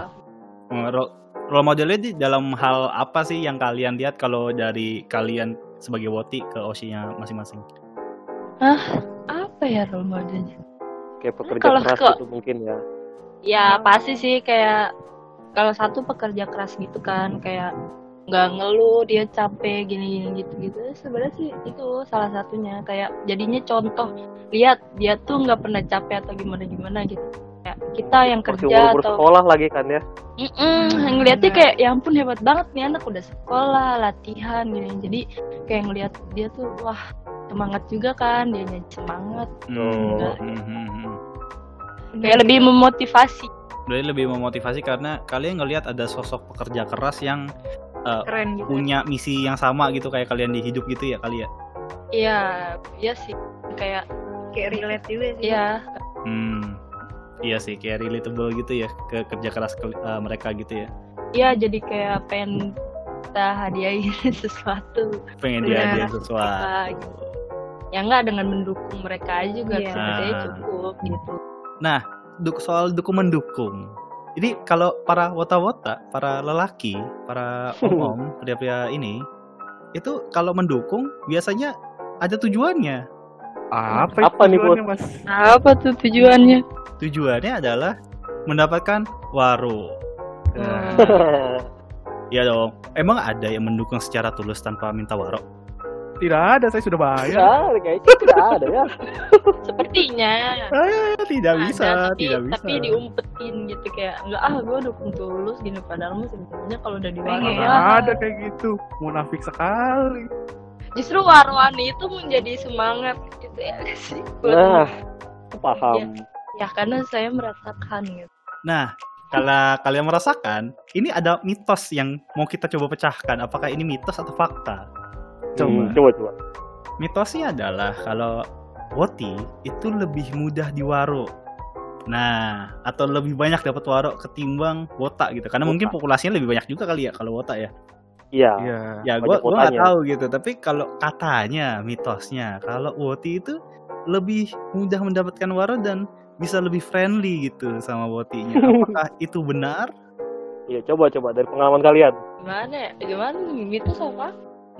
Speaker 1: Eh, ro- Role modelnya di dalam hal apa sih yang kalian lihat kalau dari kalian sebagai woti ke osinya masing-masing?
Speaker 4: apa ya role modelnya
Speaker 3: Kayak pekerja
Speaker 4: Kalau
Speaker 3: keras
Speaker 4: kok-
Speaker 3: gitu mungkin ya.
Speaker 4: ya pasti sih kayak kalau satu pekerja keras gitu kan kayak nggak ngeluh dia capek gini gini gitu gitu sebenarnya sih itu salah satunya kayak jadinya contoh lihat dia tuh nggak pernah capek atau gimana gimana gitu kayak kita yang
Speaker 3: Masih
Speaker 4: kerja
Speaker 3: umur
Speaker 4: atau
Speaker 3: sekolah lagi kan ya.
Speaker 4: Mm-mm, ngelihatnya kayak ya ampun hebat banget nih anak udah sekolah latihan gitu jadi kayak ngelihat dia tuh wah semangat juga kan dia semangat
Speaker 5: Hmm, nah, iya.
Speaker 1: Oh.
Speaker 4: kayak lebih
Speaker 5: gitu,
Speaker 4: memotivasi
Speaker 1: Jadi lebih memotivasi karena kalian ngelihat ada sosok pekerja keras yang
Speaker 5: keren gitu.
Speaker 1: punya misi yang sama gitu kayak kalian di hidup gitu ya kali ya.
Speaker 4: iya iya sih kayak
Speaker 5: Kayak relate juga sih.
Speaker 4: iya
Speaker 1: Hmm. Iya sih kayak relatable gitu ya ke kerja keras ke- eh, mereka gitu ya.
Speaker 4: iya jadi kayak pengen kita hadiahin sesuatu
Speaker 1: Pengen
Speaker 5: Iya.
Speaker 1: diajarin sesuatu.
Speaker 4: Apa gitu. ya enggak dengan mendukung mereka juga
Speaker 5: Iya.
Speaker 4: sebenarnya
Speaker 1: Ah.
Speaker 4: cukup gitu
Speaker 1: Duk soal dukung mendukung. Jadi kalau para wota-wota, para lelaki, para om-om, pria-pria ini itu kalau mendukung biasanya ada tujuannya.
Speaker 2: Apa,
Speaker 3: Apa nih,
Speaker 2: tujuannya, mas?
Speaker 4: apa tuh tujuannya
Speaker 1: tujuannya adalah mendapatkan waro.
Speaker 2: Nah,
Speaker 1: Hmm. Ya dong. Emang ada yang mendukung secara tulus tanpa minta waro?
Speaker 2: Tidak ada, saya sudah bayar.
Speaker 3: Ya, kayaknya tidak ada ya.
Speaker 4: sepertinya
Speaker 1: Ah, tidak bisa,
Speaker 4: Ada, tapi,
Speaker 1: tidak bisa.
Speaker 4: tapi diumpetin gitu kayak enggak ah gue dukung tulus gini padahal mah sebenarnya kalau udah diwarna
Speaker 5: Pengen.
Speaker 2: Mana ada kayak gitu. Munafik sekali.
Speaker 4: justru warna itu menjadi semangat gitu ya nggak sih buat
Speaker 3: Nah, paham.
Speaker 4: ya karena saya merasakan gitu
Speaker 1: Nah, kalau kalian merasakan, ini ada mitos yang mau kita coba pecahkan. Apakah ini mitos atau fakta?
Speaker 2: Coba.
Speaker 3: Hmm, coba coba.
Speaker 1: Mitosnya adalah kalau woti itu lebih mudah diwaro. Nah, atau lebih banyak dapat waro ketimbang wota gitu. Karena
Speaker 3: Wota.
Speaker 1: mungkin populasinya lebih banyak juga kali ya kalau wota ya.
Speaker 3: Iya.
Speaker 2: Iya.
Speaker 1: ya
Speaker 3: Banyak
Speaker 1: gue gue nggak
Speaker 3: kuotanya.
Speaker 1: tahu gitu tapi kalau katanya mitosnya kalau Woti itu lebih mudah mendapatkan waro dan bisa lebih friendly gitu sama Wotinya apakah itu benar
Speaker 3: Iya, coba coba dari pengalaman kalian.
Speaker 4: gimana ya gimana mitos apa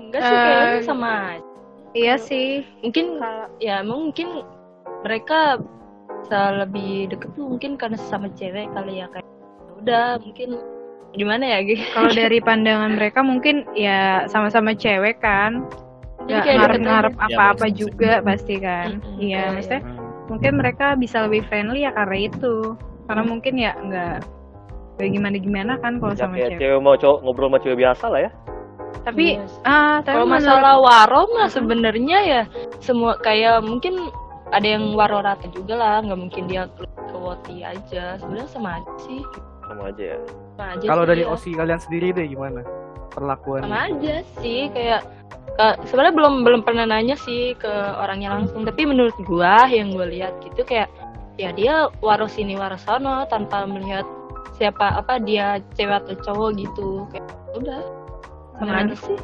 Speaker 4: enggak sih
Speaker 5: Eh,
Speaker 4: kayaknya sama aja.
Speaker 5: Iya sih.
Speaker 4: mungkin
Speaker 5: Kalau
Speaker 4: ya mungkin mereka bisa lebih deket tuh mungkin karena sesama cewek kali ya kayak udah mungkin gimana ya gitu
Speaker 5: kalau dari pandangan mereka mungkin ya sama-sama cewek kan.
Speaker 4: Jadi
Speaker 5: Gak
Speaker 4: kayak gitu deket aja.
Speaker 5: ngarep-ngarep
Speaker 1: Ya,
Speaker 5: apa-apa
Speaker 1: bener sih.
Speaker 5: juga pasti kan.
Speaker 4: Mm-mm,
Speaker 5: Iya,
Speaker 4: kayak-
Speaker 5: maksudnya mungkin mereka bisa lebih friendly ya karena itu. Karena mungkin ya nggak kayak gimana gimana kan kalau
Speaker 3: Ya,
Speaker 5: sama
Speaker 3: kayak
Speaker 5: cewek.
Speaker 3: cewek mau cowok ngobrol sama cewek biasa lah ya
Speaker 5: Tapi
Speaker 4: Yes.
Speaker 5: ah
Speaker 4: Iya
Speaker 5: tapi
Speaker 4: Kalau
Speaker 5: menurut- Hmm.
Speaker 4: masalah waro mah sebenarnya ya semua kayak mungkin ada yang waro rata juga lah, nggak mungkin dia ke ke woti aja. Sebenarnya sama aja sih.
Speaker 3: sama aja ya
Speaker 4: Sama aja
Speaker 2: Kalau
Speaker 4: sih
Speaker 2: dari
Speaker 4: ya.
Speaker 2: OSI kalian sendiri deh gimana? Perlakuan
Speaker 4: sama aja sih kayak ke- sebenarnya belum belum pernah nanya sih ke orangnya langsung tapi menurut gua yang gua lihat gitu kayak ya dia waros sini waros sono tanpa melihat siapa apa dia cewek atau cowok gitu kayak udah sama
Speaker 5: Hmm.
Speaker 4: aja sih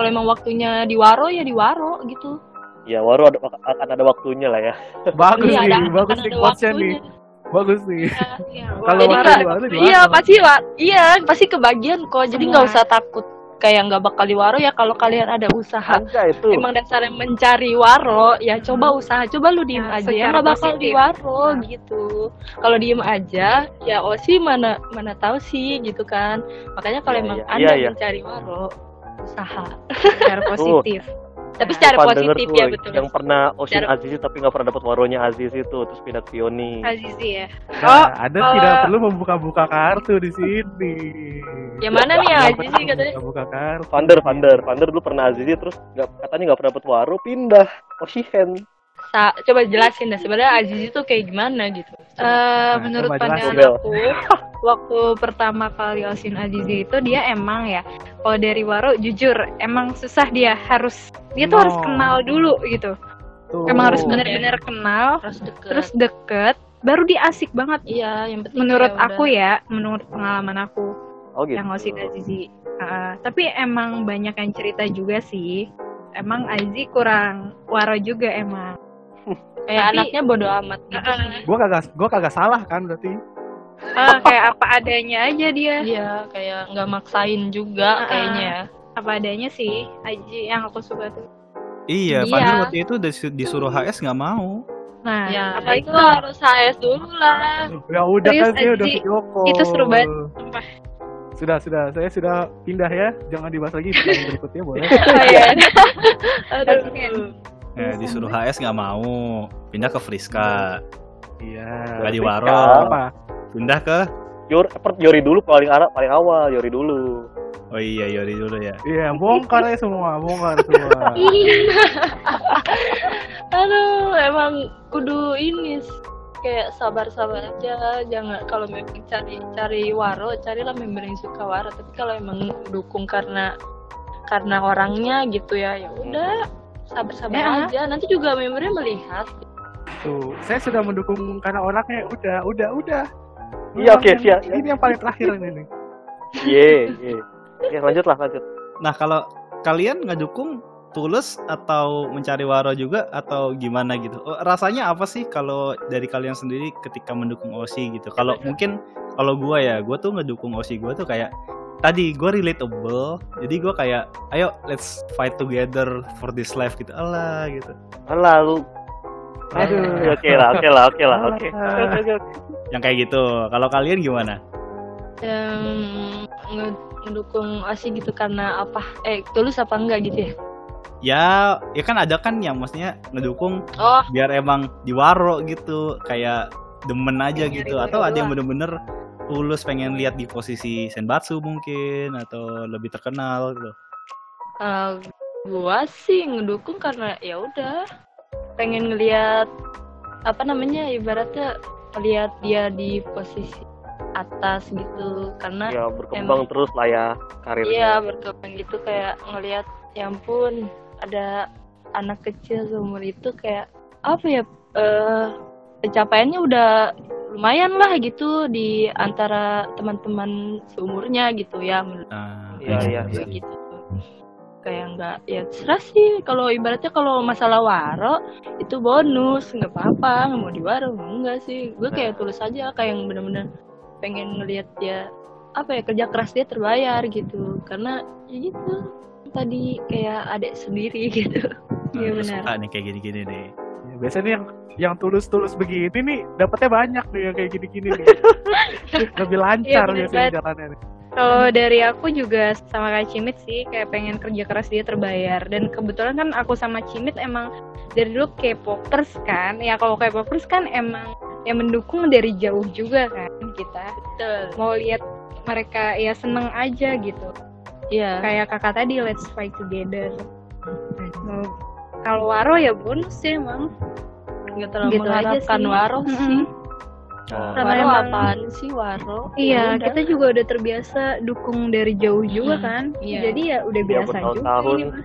Speaker 4: kalau emang waktunya di waro ya di waro gitu
Speaker 3: ya baru ada, akan ada waktunya lah ya
Speaker 2: bagus
Speaker 4: Iya,
Speaker 2: nih,
Speaker 4: ada-
Speaker 2: bagus
Speaker 4: akan
Speaker 2: nih
Speaker 4: ada
Speaker 2: quotesnya nih,
Speaker 4: waktunya.
Speaker 2: bagus nih.
Speaker 4: Iya, iya.
Speaker 2: Kalau
Speaker 4: Jadi
Speaker 2: waktu
Speaker 4: nggak-
Speaker 2: di Waro di
Speaker 4: iya
Speaker 2: Waro.
Speaker 4: pasti wa iya pasti kebagian kok jadi
Speaker 5: Semua.
Speaker 2: Iya.
Speaker 4: nggak usah takut kayak nggak bakal di waro ya kalau kalian ada usaha
Speaker 3: ada itu
Speaker 4: emang dasarnya mencari waro ya coba usaha coba lu diem
Speaker 5: Nah,
Speaker 4: aja ya
Speaker 5: secara
Speaker 4: nggak bakal
Speaker 5: positif.
Speaker 4: di waro
Speaker 5: Nah.
Speaker 4: gitu kalau diem aja ya osi mana mana tahu sih gitu kan makanya kalau
Speaker 3: Iya,
Speaker 4: emang
Speaker 3: iya.
Speaker 4: anda
Speaker 3: Iya, iya.
Speaker 4: mencari waro usaha
Speaker 5: secara positif.
Speaker 4: tapi
Speaker 5: Nah,
Speaker 4: secara
Speaker 3: Pan denger
Speaker 4: positif
Speaker 3: tuh,
Speaker 4: ya betul
Speaker 3: yang pernah Osin
Speaker 4: Secara-
Speaker 3: Azizi tapi nggak pernah dapat waronya Aziz itu terus pindah ke Pioni
Speaker 5: Azizi ya.
Speaker 4: Oh,
Speaker 2: Nah, ada
Speaker 5: kalau-
Speaker 4: eh.
Speaker 2: tidak perlu membuka-buka kartu di sini.
Speaker 4: ya mana nih
Speaker 2: Tidak
Speaker 4: aja
Speaker 2: perlu
Speaker 4: sih katanya Eh,
Speaker 2: Membuka kartu.
Speaker 3: Vander Vander Vander dulu pernah Azizi terus nggak katanya nggak pernah dapat waro pindah Oshihen
Speaker 4: Sa- coba jelasin dah sebenarnya Aziz itu kayak gimana gitu
Speaker 5: Eh,
Speaker 2: Nah,
Speaker 5: menurut
Speaker 2: coba
Speaker 5: pandangan
Speaker 3: jelasin.
Speaker 5: aku, waktu pertama kali Osin Azizi itu dia emang ya, kalau dari Waro jujur emang susah dia harus dia tuh
Speaker 2: No.
Speaker 5: harus kenal dulu gitu.
Speaker 2: Tuh.
Speaker 5: Emang harus
Speaker 4: Oh.
Speaker 5: bener-bener kenal,
Speaker 4: terus deket
Speaker 5: terus deket, baru dia asik banget.
Speaker 4: iya yang penting
Speaker 5: Menurut
Speaker 4: kayak
Speaker 5: aku
Speaker 4: udah-
Speaker 5: ya, menurut pengalaman aku
Speaker 3: oh gitu
Speaker 5: yang Osin Azizi. Uh, tapi emang banyak yang cerita juga sih. Emang Azizi kurang Waro juga emang.
Speaker 4: kayak
Speaker 5: tapi-
Speaker 4: anaknya bodo amat gitu
Speaker 5: Uh,
Speaker 2: Gua kagak gua kagak salah kan berarti.
Speaker 5: uh, kayak apa adanya aja dia.
Speaker 4: iya kayak nggak maksain juga
Speaker 5: Ah, ah.
Speaker 4: kayaknya ya
Speaker 5: apa adanya sih Aji yang aku suka tuh
Speaker 1: Iya,
Speaker 4: Iya.
Speaker 1: Vander waktu itu disu- disuruh
Speaker 3: Iya.
Speaker 1: HS nggak mau.
Speaker 5: nah
Speaker 4: Ya,
Speaker 5: apalagi
Speaker 4: itu
Speaker 5: kalau
Speaker 4: harus HS dulu lah.
Speaker 2: Ya udah
Speaker 5: Serius,
Speaker 2: kan saya udah
Speaker 5: Aji,
Speaker 2: video call.
Speaker 5: itu seru banget, sumpah.
Speaker 2: Sudah, sudah. Saya sudah pindah ya. Jangan dibahas lagi pertanyaan berikutnya boleh.
Speaker 5: Aduh.
Speaker 3: Iya.
Speaker 1: Ya, disuruh HS nggak mau. Pindah ke Friska,
Speaker 2: Iya.
Speaker 1: nggak di
Speaker 3: Friska.
Speaker 1: Waro,
Speaker 2: Apa?
Speaker 1: pindah ke
Speaker 3: Yor, eh, per- Yori dulu paling ara- paling awal Yori dulu
Speaker 1: Oh iya, Yori dulu ya.
Speaker 2: Iya, bongkar ya semua, bongkar semua.
Speaker 4: Aduh, emang kudu ini s- kayak sabar-sabar aja jangan kalau memang cari cari waro carilah member yang suka waro tapi kalau emang dukung karena karena orangnya gitu ya ya udah sabar-sabar
Speaker 5: Ya.
Speaker 4: aja nanti juga membernya melihat
Speaker 2: Tuh, saya sudah mendukung karena orangnya udah, udah, udah.
Speaker 3: Iya,
Speaker 2: Memang
Speaker 3: oke,
Speaker 2: yang-
Speaker 3: siap. Iya,
Speaker 2: Ini yang paling terakhir ini. nih.
Speaker 3: ye ye ya lanjut lah lanjut
Speaker 1: Nah, kalau kalian ngedukung tulus atau mencari waro juga atau gimana gitu. Oh, Rasanya apa sih kalau dari kalian sendiri ketika mendukung OSI gitu? Kalau mungkin kalau gua ya, gua tuh ngedukung OSI gua tuh kayak tadi gua relatable. Jadi gua kayak ayo let's fight together for this life gitu. Alah gitu.
Speaker 3: lalu
Speaker 2: Aduh.
Speaker 3: oke lah oke lah oke lah ya oke
Speaker 2: Ah.
Speaker 3: Oke, oke, oke.
Speaker 1: Yang kayak gitu. Kalau kalian gimana?
Speaker 4: Em, nge- mendukung asi gitu karena apa eh tulus apa enggak gitu ya
Speaker 1: Ya, ya kan ada kan yang maksudnya ngedukung
Speaker 4: oh
Speaker 1: biar emang diwaro gitu kayak demen aja
Speaker 5: Pengen
Speaker 1: gitu
Speaker 5: nyari
Speaker 1: atau ada yang
Speaker 5: doang.
Speaker 1: bener-bener tulus pengen lihat di posisi senbatsu mungkin atau lebih terkenal gitu
Speaker 4: Kalau Eh, gua sih ngedukung karena ya udah pengen ngelihat apa namanya ibaratnya lihat dia di posisi atas gitu karena
Speaker 3: ya berkembang
Speaker 4: Emang.
Speaker 3: terus lah ya
Speaker 4: iya
Speaker 3: karirnya
Speaker 4: berkembang gitu kayak ngelihat ya ampun ada anak kecil seumur itu kayak apa ya eh pencapaiannya udah lumayan lah gitu di antara teman-teman seumurnya gitu ya menurut
Speaker 1: nah,
Speaker 3: Iya,
Speaker 1: kayak
Speaker 3: iya,
Speaker 1: gitu sih.
Speaker 4: gitu kayak nggak ya terserah sih kalau ibaratnya kalau masalah waro itu bonus nggak apa-apa nggak mau di waro enggak sih gue
Speaker 3: Nah.
Speaker 4: kayak tulis aja kayak yang bener-bener pengen ngelihat dia apa ya kerja keras dia terbayar gitu karena ya gitu tadi kayak adik sendiri gitu
Speaker 1: Nah,
Speaker 5: Iya,
Speaker 1: gua
Speaker 5: benar.
Speaker 1: suka nih kayak gini-gini nih
Speaker 2: Ya, biasanya nih yang yang tulus-tulus begini nih dapatnya banyak nih yang kayak gini-gini nih. Lebih
Speaker 5: Iya,
Speaker 2: lancar
Speaker 5: bener
Speaker 2: biasanya
Speaker 5: banget.
Speaker 2: jalannya nih.
Speaker 5: kalau dari aku juga sama kayak Cimit sih kayak pengen kerja keras dia terbayar dan kebetulan kan aku sama Cimit emang dari dulu K-popers kan ya kalau K-popers kan emang yang mendukung dari jauh juga kan kita
Speaker 4: betul
Speaker 5: mau lihat mereka ya seneng aja gitu
Speaker 4: iya
Speaker 5: kayak kakak tadi let's fight together Nah, kalau waro ya bonus sih emang
Speaker 4: nggak terlalu
Speaker 5: gitu aja
Speaker 4: mengharapkan
Speaker 5: sih.
Speaker 4: waro sih
Speaker 5: Mm-mm. Sama
Speaker 4: waro
Speaker 5: emang-
Speaker 4: apaan sih waro Ya
Speaker 5: Iya,
Speaker 4: udah.
Speaker 5: kita juga udah terbiasa dukung dari jauh juga
Speaker 4: Hmm,
Speaker 5: kan.
Speaker 4: iya.
Speaker 5: Jadi ya udah
Speaker 3: Iya,
Speaker 5: biasa juga.
Speaker 3: bertahun-tahun.
Speaker 5: ini mah.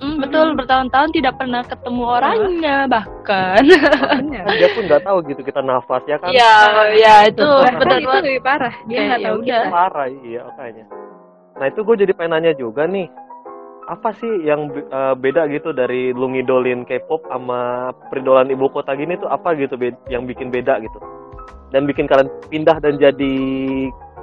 Speaker 4: Mm, betul bertahun-tahun tidak pernah ketemu orangnya bahkan
Speaker 5: Makanya.
Speaker 3: dia pun nggak tahu gitu kita nafas ya kan
Speaker 4: Iya, ya itu
Speaker 5: Bahkan
Speaker 4: benar
Speaker 5: itu lebih parah. Dia
Speaker 4: Kayak
Speaker 5: nggak
Speaker 4: ya
Speaker 5: tahu
Speaker 4: udah.
Speaker 5: kita.
Speaker 3: parah iya makanya nah itu gue jadi pengen nanya juga nih apa sih yang be- eh, beda gitu dari lu ngidolin K-pop sama peridolan ibu kota gini tuh apa gitu be- yang bikin beda gitu dan bikin kalian pindah dan jadi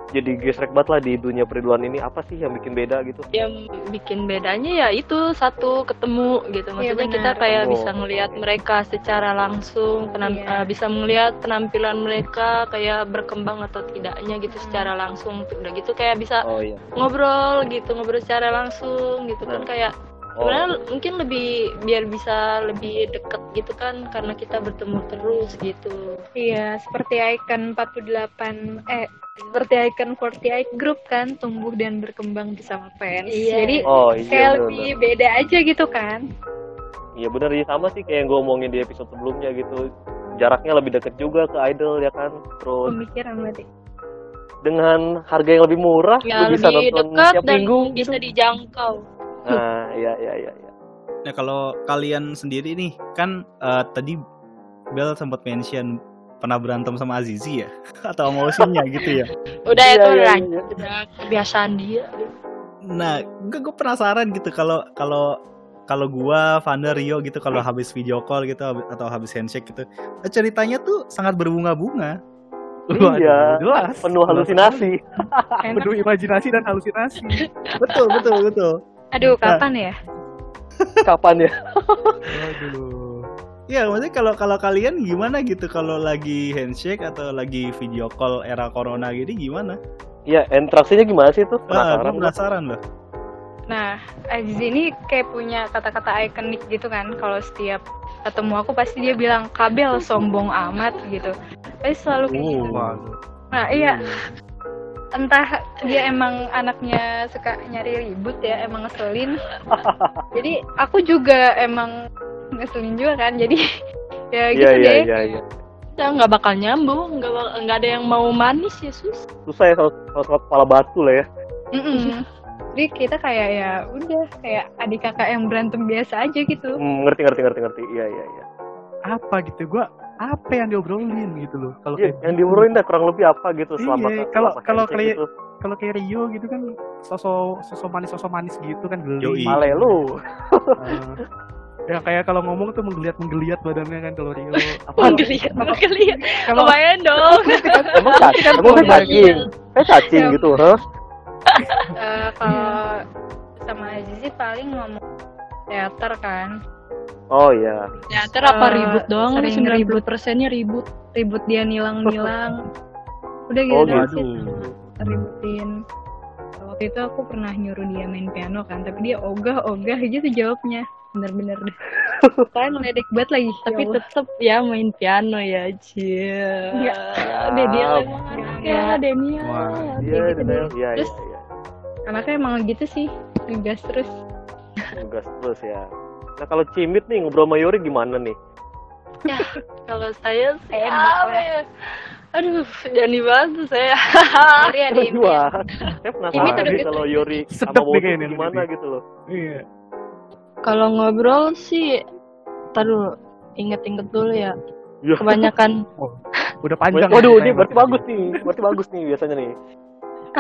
Speaker 3: jadi gesrek banget lah di dunia peridolan ini apa sih yang bikin beda gitu
Speaker 4: yang bikin bedanya ya itu satu ketemu gitu maksudnya
Speaker 5: Iya, benar.
Speaker 4: kita kayak
Speaker 3: Ketemu.
Speaker 4: bisa ngelihat mereka secara langsung penam- eh,
Speaker 5: Iya.
Speaker 4: bisa melihat penampilan mereka kayak berkembang atau tidaknya gitu
Speaker 5: Hmm.
Speaker 4: secara langsung udah gitu kayak bisa
Speaker 3: oh iya
Speaker 4: ngobrol gitu ngobrol secara langsung gitu
Speaker 3: Nah.
Speaker 4: kan kayak
Speaker 3: oh
Speaker 4: sebenarnya mungkin lebih biar bisa lebih deket gitu kan karena kita bertemu terus gitu
Speaker 5: Iya, seperti icon 48 eh seperti icon 48 group kan tumbuh dan berkembang bersama fans.
Speaker 4: Iya.
Speaker 5: Jadi
Speaker 3: oh
Speaker 5: kayak
Speaker 3: iya
Speaker 5: lebih
Speaker 3: bener.
Speaker 5: beda aja gitu kan.
Speaker 3: Iya bener ya sama sih kayak yang gue omongin di episode sebelumnya gitu jaraknya lebih deket juga ke idol ya kan terus
Speaker 5: Pemikiran berarti.
Speaker 3: dengan harga yang lebih murah
Speaker 4: ya
Speaker 3: lu bisa
Speaker 4: lebih
Speaker 3: nonton
Speaker 4: dekat
Speaker 3: tiap
Speaker 4: dan
Speaker 3: minggu gitu?
Speaker 4: bisa dijangkau
Speaker 3: nah iya iya iya iya.
Speaker 1: Nah kalau kalian sendiri nih kan eh, tadi Bel sempat mention pernah berantem sama Azizi ya atau sama Osinnya gitu ya.
Speaker 4: udah
Speaker 3: Iya,
Speaker 4: itu
Speaker 3: iya,
Speaker 4: udah
Speaker 3: iya.
Speaker 4: udah kebiasaan dia
Speaker 1: Nah gue gue penasaran gitu kalau kalau kalau gua, Vander, Rio gitu kalau habis video call gitu hab- atau habis handshake gitu eh, ceritanya tuh sangat berbunga-bunga. Waduh,
Speaker 3: Iya.
Speaker 1: jelas.
Speaker 3: penuh halusinasi
Speaker 5: Enak.
Speaker 2: Penuh imajinasi dan halusinasi.
Speaker 1: Betul betul betul.
Speaker 5: Aduh,
Speaker 3: Nah.
Speaker 5: kapan ya?
Speaker 3: kapan ya
Speaker 2: Waduh.
Speaker 1: Ya maksudnya kalau kalau kalian gimana gitu kalau lagi handshake atau lagi video call era corona gini gimana?
Speaker 3: iya interaksinya gimana sih tuh
Speaker 1: Ah,
Speaker 3: penasaran
Speaker 1: gue penasaran loh.
Speaker 5: Nah, Aziz ini kayak punya kata-kata ikonik gitu kan. Kalau setiap ketemu aku pasti dia bilang kabel sombong amat gitu. Tapi selalu kayak gitu.
Speaker 3: Oh.
Speaker 2: Waduh.
Speaker 5: Nah, iya. Entah dia emang anaknya suka nyari ribut ya, emang ngeselin. Jadi aku juga emang ngeselin juga kan. Jadi ya gitu
Speaker 3: iya iya
Speaker 5: deh.
Speaker 3: iya iya.
Speaker 4: ya nggak bakal nyambung nggak bak- nggak ada yang mau manis ya sus
Speaker 3: susah ya kalau kalau kepala batu lah ya
Speaker 5: Mm-mm. Jadi kita kayak ya udah kayak adik kakak yang berantem biasa aja gitu.
Speaker 3: Hmm, ngerti ngerti ngerti ngerti iya iya iya
Speaker 2: Apa gitu gua apa yang diobrolin gitu loh kalau
Speaker 3: Iya,
Speaker 2: kayak
Speaker 3: yang diuruin dah kurang lebih apa gitu selama gitu.
Speaker 2: Iya, kalau-
Speaker 3: selama
Speaker 2: kalau
Speaker 3: handshake
Speaker 2: kayak- kalau kayak Rio gitu kan sosok sosok manis sosok manis gitu kan geli.
Speaker 1: Yoi.
Speaker 3: gitu. male lu
Speaker 2: Eh, ya kayak kalau ngomong tuh menggeliat menggeliat badannya kan kalau Rio.
Speaker 4: Oh, menggeliat menggeliat
Speaker 2: Kalau
Speaker 4: lumayan dong
Speaker 3: emang cacing emang saya cacing saya cacing
Speaker 5: Iya.
Speaker 3: gitu huh?
Speaker 5: Eh, kalau sama Aziz sih paling ngomong teater kan
Speaker 3: oh iya
Speaker 4: ya apa
Speaker 5: Eh,
Speaker 4: ribut doang
Speaker 5: sering
Speaker 4: sembilan
Speaker 5: ribut.
Speaker 4: persennya ribut
Speaker 5: ribut dia nilang-nilang udah gitu,
Speaker 3: Oh,
Speaker 1: gitu.
Speaker 5: doang sih, ributin waktu itu aku pernah nyuruh dia main piano kan tapi dia ogah-ogah gitu jawabnya bener-bener deh kalian meledek banget lagi
Speaker 4: tapi
Speaker 5: Ya Allah.
Speaker 4: tetep ya main piano ya cie
Speaker 5: Iya.
Speaker 4: Daniel emang
Speaker 5: Iya.
Speaker 4: ya Daniel
Speaker 2: Wah,
Speaker 3: iya
Speaker 5: Kayak gitu
Speaker 3: iya
Speaker 5: deh.
Speaker 3: iya
Speaker 5: Terus-
Speaker 3: iya
Speaker 5: anaknya emang gitu sih ngegas terus
Speaker 3: tugas terus ya nah kalau cimit nih ngobrol sama Yuri gimana nih
Speaker 4: kalau saya saya
Speaker 5: Enak
Speaker 4: apa
Speaker 5: lah.
Speaker 4: ya? aduh jangan dibantu saya
Speaker 5: Sorry
Speaker 4: ya, Iya,
Speaker 5: ada ini
Speaker 3: Wah, saya
Speaker 5: Cimit
Speaker 3: penasaran
Speaker 5: udah
Speaker 3: sih
Speaker 5: gitu.
Speaker 3: kalau Yori
Speaker 2: Sedap
Speaker 3: sama
Speaker 2: nih
Speaker 3: Wotu
Speaker 2: kayaknya
Speaker 3: gimana
Speaker 2: nanti.
Speaker 3: gitu loh.
Speaker 2: iya.
Speaker 4: kalau ngobrol sih taruh inget-inget dulu ya
Speaker 3: Iya.
Speaker 4: kebanyakan
Speaker 2: Udah panjang.
Speaker 3: Waduh,
Speaker 2: ya,
Speaker 3: ini berarti
Speaker 2: kayaknya.
Speaker 3: bagus nih. Berarti bagus nih biasanya nih.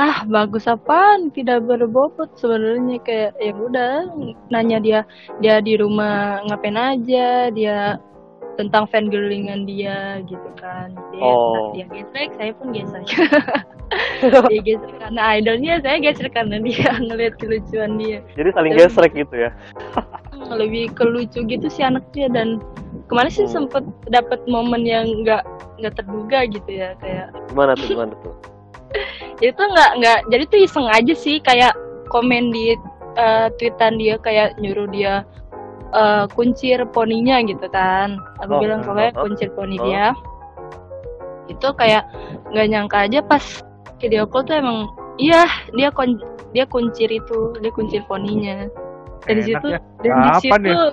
Speaker 4: ah bagus apaan tidak berbobot sebenarnya kayak ya udah nanya dia dia di rumah ngapain aja dia tentang fangirlingan dia gitu kan dia
Speaker 3: Oh.
Speaker 4: dia gesrek saya pun gesrek dia gesrek karena idolnya saya gesrek karena dia ngeliat kelucuan dia
Speaker 3: Jadi saling
Speaker 4: Terus-
Speaker 3: gesrek gitu ya.
Speaker 4: lebih kelucu gitu sih anaknya dan kemarin sih
Speaker 3: Oh.
Speaker 4: sempet dapet momen yang nggak nggak terduga gitu ya kayak
Speaker 3: Gimana tuh, gimana tuh?
Speaker 4: jadi tuh nggak nggak jadi tuh iseng aja sih kayak komen di eh, tweetan dia kayak nyuruh dia eh, kuncir poninya gitu kan aku
Speaker 3: Oh,
Speaker 4: bilang
Speaker 3: oh,
Speaker 4: pokoknya
Speaker 3: oh,
Speaker 4: kuncir poni
Speaker 3: oh.
Speaker 4: dia itu kayak nggak nyangka aja pas video call tuh emang iya dia kun dia kuncir itu dia kuncir poninya dari
Speaker 2: Enak
Speaker 4: situ
Speaker 2: ya.
Speaker 4: dan di
Speaker 2: Kapan
Speaker 4: situ
Speaker 2: ya?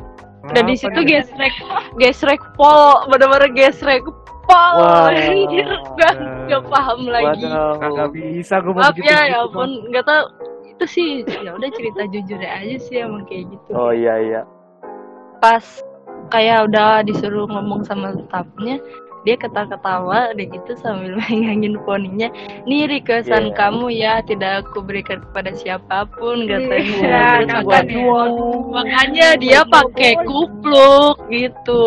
Speaker 4: dan di situ gesrek gesrek pol bener-bener gesrek pol
Speaker 3: Wah.
Speaker 4: anjir gua nggak paham lagi
Speaker 3: Waduh.
Speaker 2: Kagak bisa gue mau gitu,
Speaker 4: maaf
Speaker 2: begitu.
Speaker 4: ya ya ampun nggak tahu itu sih ya udah cerita jujur aja sih emang kayak gitu
Speaker 3: Oh iya iya.
Speaker 4: pas kayak udah disuruh ngomong sama staffnya dia ketawa-ketawa dan gitu sambil megangin poninya nih requestan
Speaker 3: Iya.
Speaker 4: kamu ya tidak aku berikan kepada siapapun
Speaker 5: Iya,
Speaker 4: katanya Terus
Speaker 5: kapan
Speaker 4: makanya,
Speaker 5: ya?
Speaker 4: makanya dia pakai kupluk gitu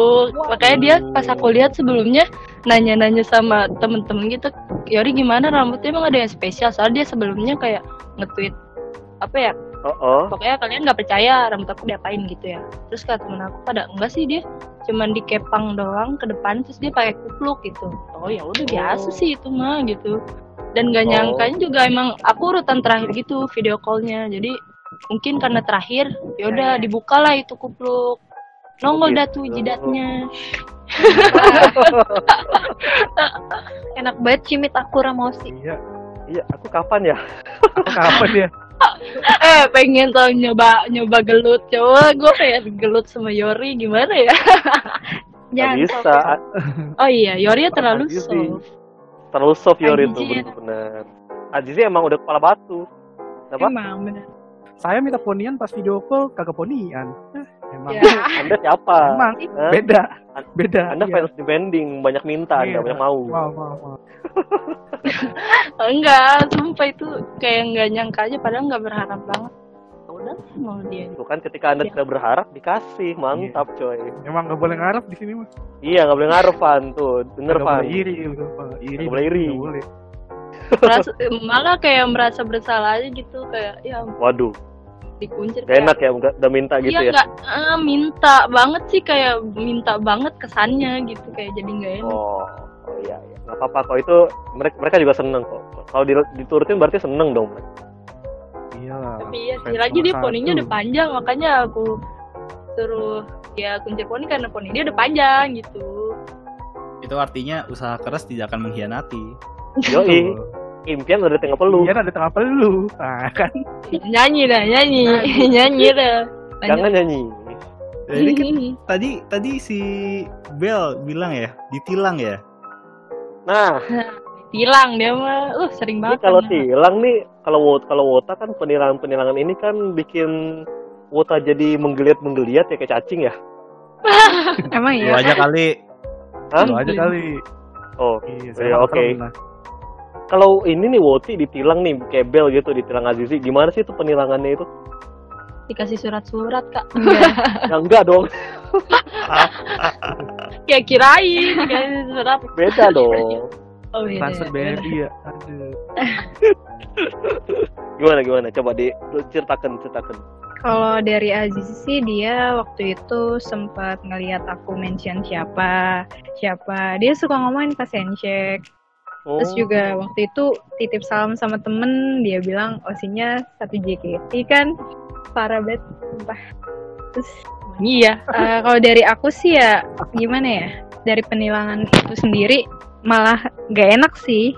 Speaker 4: makanya dia pas aku lihat sebelumnya nanya-nanya sama temen-temen gitu Yori gimana rambutnya emang ada yang spesial soalnya dia sebelumnya kayak nge-tweet apa ya
Speaker 3: Oh oh.
Speaker 4: pokoknya kalian nggak percaya rambut aku diapain gitu ya terus kata temen aku pada enggak sih dia cuman dikepang doang ke depan terus dia pakai kupluk gitu oh ya udah biasa sih itu mah gitu dan gak
Speaker 3: Oh.
Speaker 4: nyangkanya juga emang aku urutan terakhir gitu video callnya jadi mungkin karena terakhir ya udah dibukalah itu kupluk nongol dah tuh jidatnya
Speaker 5: Enak banget cimit aku Ramosi.
Speaker 2: Iya,
Speaker 3: Iya, aku kapan ya?
Speaker 2: aku kapan ya?
Speaker 4: eh pengen tau nyoba nyoba gelut coba gue pengen gelut sama Yori gimana ya
Speaker 3: Nggak
Speaker 5: Jangan
Speaker 3: bisa.
Speaker 4: oh iya Yori terlalu
Speaker 3: Azizi.
Speaker 4: soft
Speaker 3: Terlalu soft Yori itu
Speaker 5: Anjir.
Speaker 3: bener-bener. Azizi emang udah kepala batu.
Speaker 5: soft.
Speaker 3: Apa?
Speaker 5: Emang bener.
Speaker 2: Saya minta ponian pas video call kagak ponian. Eh, emang
Speaker 4: Ya.
Speaker 3: Anda siapa?
Speaker 2: emang
Speaker 3: Hah?
Speaker 2: beda.
Speaker 3: An-
Speaker 2: Beda.
Speaker 3: Anda
Speaker 2: iya.
Speaker 3: fans demanding, banyak minta, Anda
Speaker 2: Iya.
Speaker 3: banyak mau.
Speaker 2: Wow, wow, wow.
Speaker 4: Enggak, sumpah itu kayak nggak nyangka aja padahal nggak berharap banget. Ya Udah mau dia.
Speaker 3: Itu kan ketika Anda
Speaker 4: Iya.
Speaker 3: tidak berharap dikasih, mantap
Speaker 2: Iya.
Speaker 3: coy.
Speaker 2: Emang gak boleh ngarep di sini mah.
Speaker 3: Iya, nggak boleh ngarep Van tuh. Denger
Speaker 2: Nggak
Speaker 3: Van.
Speaker 2: boleh iri, nggak boleh iri.
Speaker 3: Nggak boleh iri.
Speaker 2: Nggak boleh.
Speaker 4: Merasa- malah kayak merasa bersalah aja gitu kayak ya ampun,
Speaker 3: Waduh,
Speaker 4: dikuncir.
Speaker 3: gak
Speaker 4: kayak,
Speaker 3: enak ya, nggak- udah minta gitu
Speaker 4: iya,
Speaker 3: ya.
Speaker 4: nggak, eh, minta banget sih kayak minta banget kesannya gitu kayak jadi nggak enak.
Speaker 3: Oh, oh iya, iya. Gak apa-apa kok itu mereka mereka juga seneng kok. Kalau di- diturutin berarti seneng dong. mereka.
Speaker 2: Iya lah.
Speaker 4: Tapi iya sih
Speaker 2: fans
Speaker 4: lagi dia
Speaker 2: nomor
Speaker 4: poninya
Speaker 2: satu.
Speaker 4: udah panjang makanya aku suruh ya kuncir poni karena poni dia udah panjang gitu.
Speaker 1: Itu artinya usaha keras tidak akan mengkhianati.
Speaker 3: Yoi, impian udah di tengah pelu.
Speaker 2: Iya, ada tengah pelu. Nah, kan.
Speaker 4: Nyanyi dah, nyanyi, nyanyi dah. Lanjut.
Speaker 3: Jangan nyanyi.
Speaker 1: Jadi kan tadi tadi si Bel bilang ya, ditilang ya.
Speaker 3: Nah,
Speaker 4: tilang dia mah uh sering
Speaker 3: ini
Speaker 4: banget
Speaker 3: kalau
Speaker 4: kan.
Speaker 3: tilang nih, kalau wota, kalau wota kan penilangan-penilangan ini kan bikin wota jadi menggeliat-menggeliat ya kayak cacing ya.
Speaker 5: Emang
Speaker 1: Lu
Speaker 5: ya.
Speaker 1: aja kali.
Speaker 3: Hah?
Speaker 2: Lu aja kali.
Speaker 3: Oh,
Speaker 2: Iya,
Speaker 3: Kan? Iya,
Speaker 2: nggak
Speaker 3: oke.
Speaker 2: pernah.
Speaker 3: kalau ini nih woti ditilang nih kayak Bel gitu ditilang Azizi, gimana sih itu penilangannya itu?
Speaker 4: Dikasih surat-surat kak.
Speaker 3: Ya enggak dong,
Speaker 4: Kayak kirain dikasih surat.
Speaker 3: beda dong.
Speaker 4: Oh iya.
Speaker 2: Transfer
Speaker 4: iya.
Speaker 2: BRI ya. Aduh.
Speaker 3: Gimana gimana? Coba di lu ceritakan ceritakan.
Speaker 5: Kalau dari Aziz sih dia waktu itu sempat ngelihat aku mention siapa siapa. Dia suka ngomongin pas handshake.
Speaker 3: Oh,
Speaker 5: Terus juga waktu itu titip salam sama temen, dia bilang osinya satu JKT kan parah banget. sumpah. Terus
Speaker 4: Iya.
Speaker 5: eh, kalau dari aku sih ya gimana ya dari penilangan itu sendiri malah gak enak sih.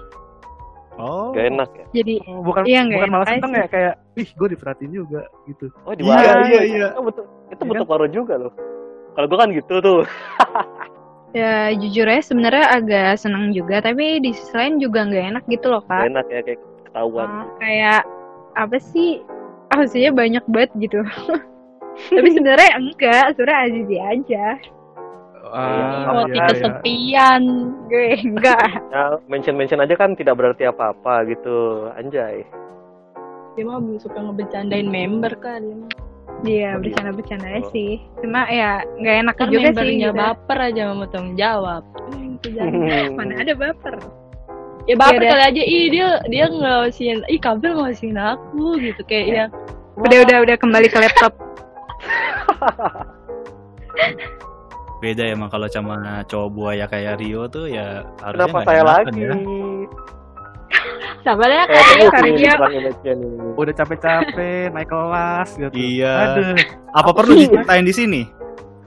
Speaker 1: Oh.
Speaker 3: gak enak ya.
Speaker 5: Jadi
Speaker 2: Oh, bukan
Speaker 5: Iya, nggak
Speaker 2: bukan malah
Speaker 5: enak
Speaker 2: seneng
Speaker 5: aja.
Speaker 2: ya kayak, ih, gue diperhatiin juga gitu.
Speaker 3: Oh di
Speaker 1: Iya,
Speaker 3: warung.
Speaker 1: iya, iya. kan?
Speaker 3: Itu betul, itu
Speaker 2: Iya
Speaker 3: betul baru juga loh. Kalau gua kan gitu tuh.
Speaker 5: ya jujur aja sebenarnya agak seneng juga tapi di sisi lain juga nggak enak gitu loh
Speaker 3: Gak
Speaker 5: kak.
Speaker 3: enak ya kayak ketahuan.
Speaker 5: Ah, kayak apa sih? Osinya banyak banget gitu. tapi sebenarnya enggak, sebenarnya Azizi aja.
Speaker 2: Ah, iya,
Speaker 4: Roti
Speaker 2: iya.
Speaker 4: kesepian.
Speaker 5: Gue enggak.
Speaker 3: Nah, mention-mention aja kan tidak berarti apa-apa gitu, anjay.
Speaker 4: Dia mah suka ngebecandain member kan dia mah.
Speaker 5: Iya
Speaker 3: Oh,
Speaker 5: bercanda-bercanda aja
Speaker 3: gitu.
Speaker 5: sih. Cuma ya nggak enak
Speaker 4: Kan
Speaker 5: juga sih.
Speaker 4: membernya
Speaker 5: gitu.
Speaker 4: baper aja nggak mau tanggung jawab. Hmm, itu
Speaker 1: Iya,
Speaker 4: jangan.
Speaker 5: Mana ada baper.
Speaker 4: ya baper
Speaker 5: Yaudah.
Speaker 4: kali aja ih dia dia ngawasin ih kabel ngawasin aku gitu kayak ya
Speaker 5: Udah udah udah kembali ke laptop.
Speaker 1: Beda ya, emang kalau sama cowok buaya kayak Rio tuh ya harusnya
Speaker 3: Kenapa
Speaker 1: nggak
Speaker 3: saya
Speaker 1: enakan
Speaker 3: lagi? Eh,
Speaker 1: ya.
Speaker 4: sabar ya
Speaker 3: Saya
Speaker 4: kak
Speaker 3: terus
Speaker 5: Karya.
Speaker 3: nih, bilang image-nya nih.
Speaker 2: Udah capek-capek naik kelas gitu.
Speaker 1: Iya.
Speaker 2: Aduh.
Speaker 1: Apa perlu diceritain di sini?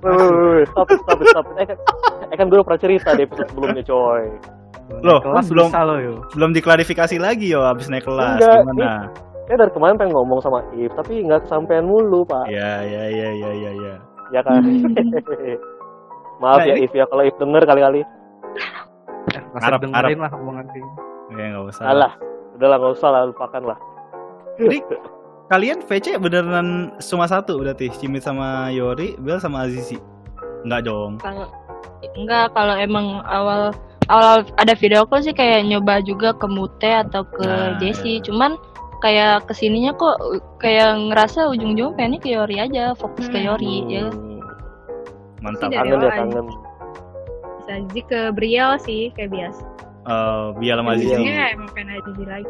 Speaker 3: Woi, woi, woi, Stop, stop, stop. Eh, kan- eh kan gue udah pernah cerita di episode sebelumnya, coy.
Speaker 1: Loh,
Speaker 2: kelas
Speaker 1: belum-
Speaker 2: bisa lo yo.
Speaker 1: Belum diklarifikasi lagi yo abis naik kelas
Speaker 3: Enggak,
Speaker 1: gimana?
Speaker 3: Saya dari kemarin pengen ngomong sama If, tapi nggak kesampaian mulu, Pak.
Speaker 1: Ya ya ya ya ya ya.
Speaker 3: Ya kan?
Speaker 1: Nah,
Speaker 3: Maaf ya
Speaker 1: ini-
Speaker 3: If ya, kalau If denger kali-kali.
Speaker 2: Eh, masih
Speaker 1: Ngarep,
Speaker 2: dengerin lah omongan sih.
Speaker 1: Ya nggak usah.
Speaker 3: Alah, Nah, udahlah nggak usah lah, lupakan lah.
Speaker 1: Jadi kalian VC beneran cuma satu berarti Cimit sama Yori, Bel sama Azizi. Enggak dong.
Speaker 4: kalau enggak kalau emang awal awal ada video call sih kayak nyoba juga ke Mute atau ke
Speaker 1: Nah,
Speaker 4: Jesse cuman kayak kesininya kok uh, kayak ngerasa ujung-ujung pengennya ke Yori aja fokus ke
Speaker 5: Hmm.
Speaker 4: Yori ya
Speaker 3: Hmm,
Speaker 1: Mantap.
Speaker 5: Dari
Speaker 3: Kangen ya,
Speaker 5: awal
Speaker 3: kangen.
Speaker 5: Saji ke Briel sih kayak biasa.
Speaker 1: Eh, Bial sama
Speaker 4: Iya.
Speaker 1: Azizi.
Speaker 5: Ujungnya emang pengen Azizi lagi.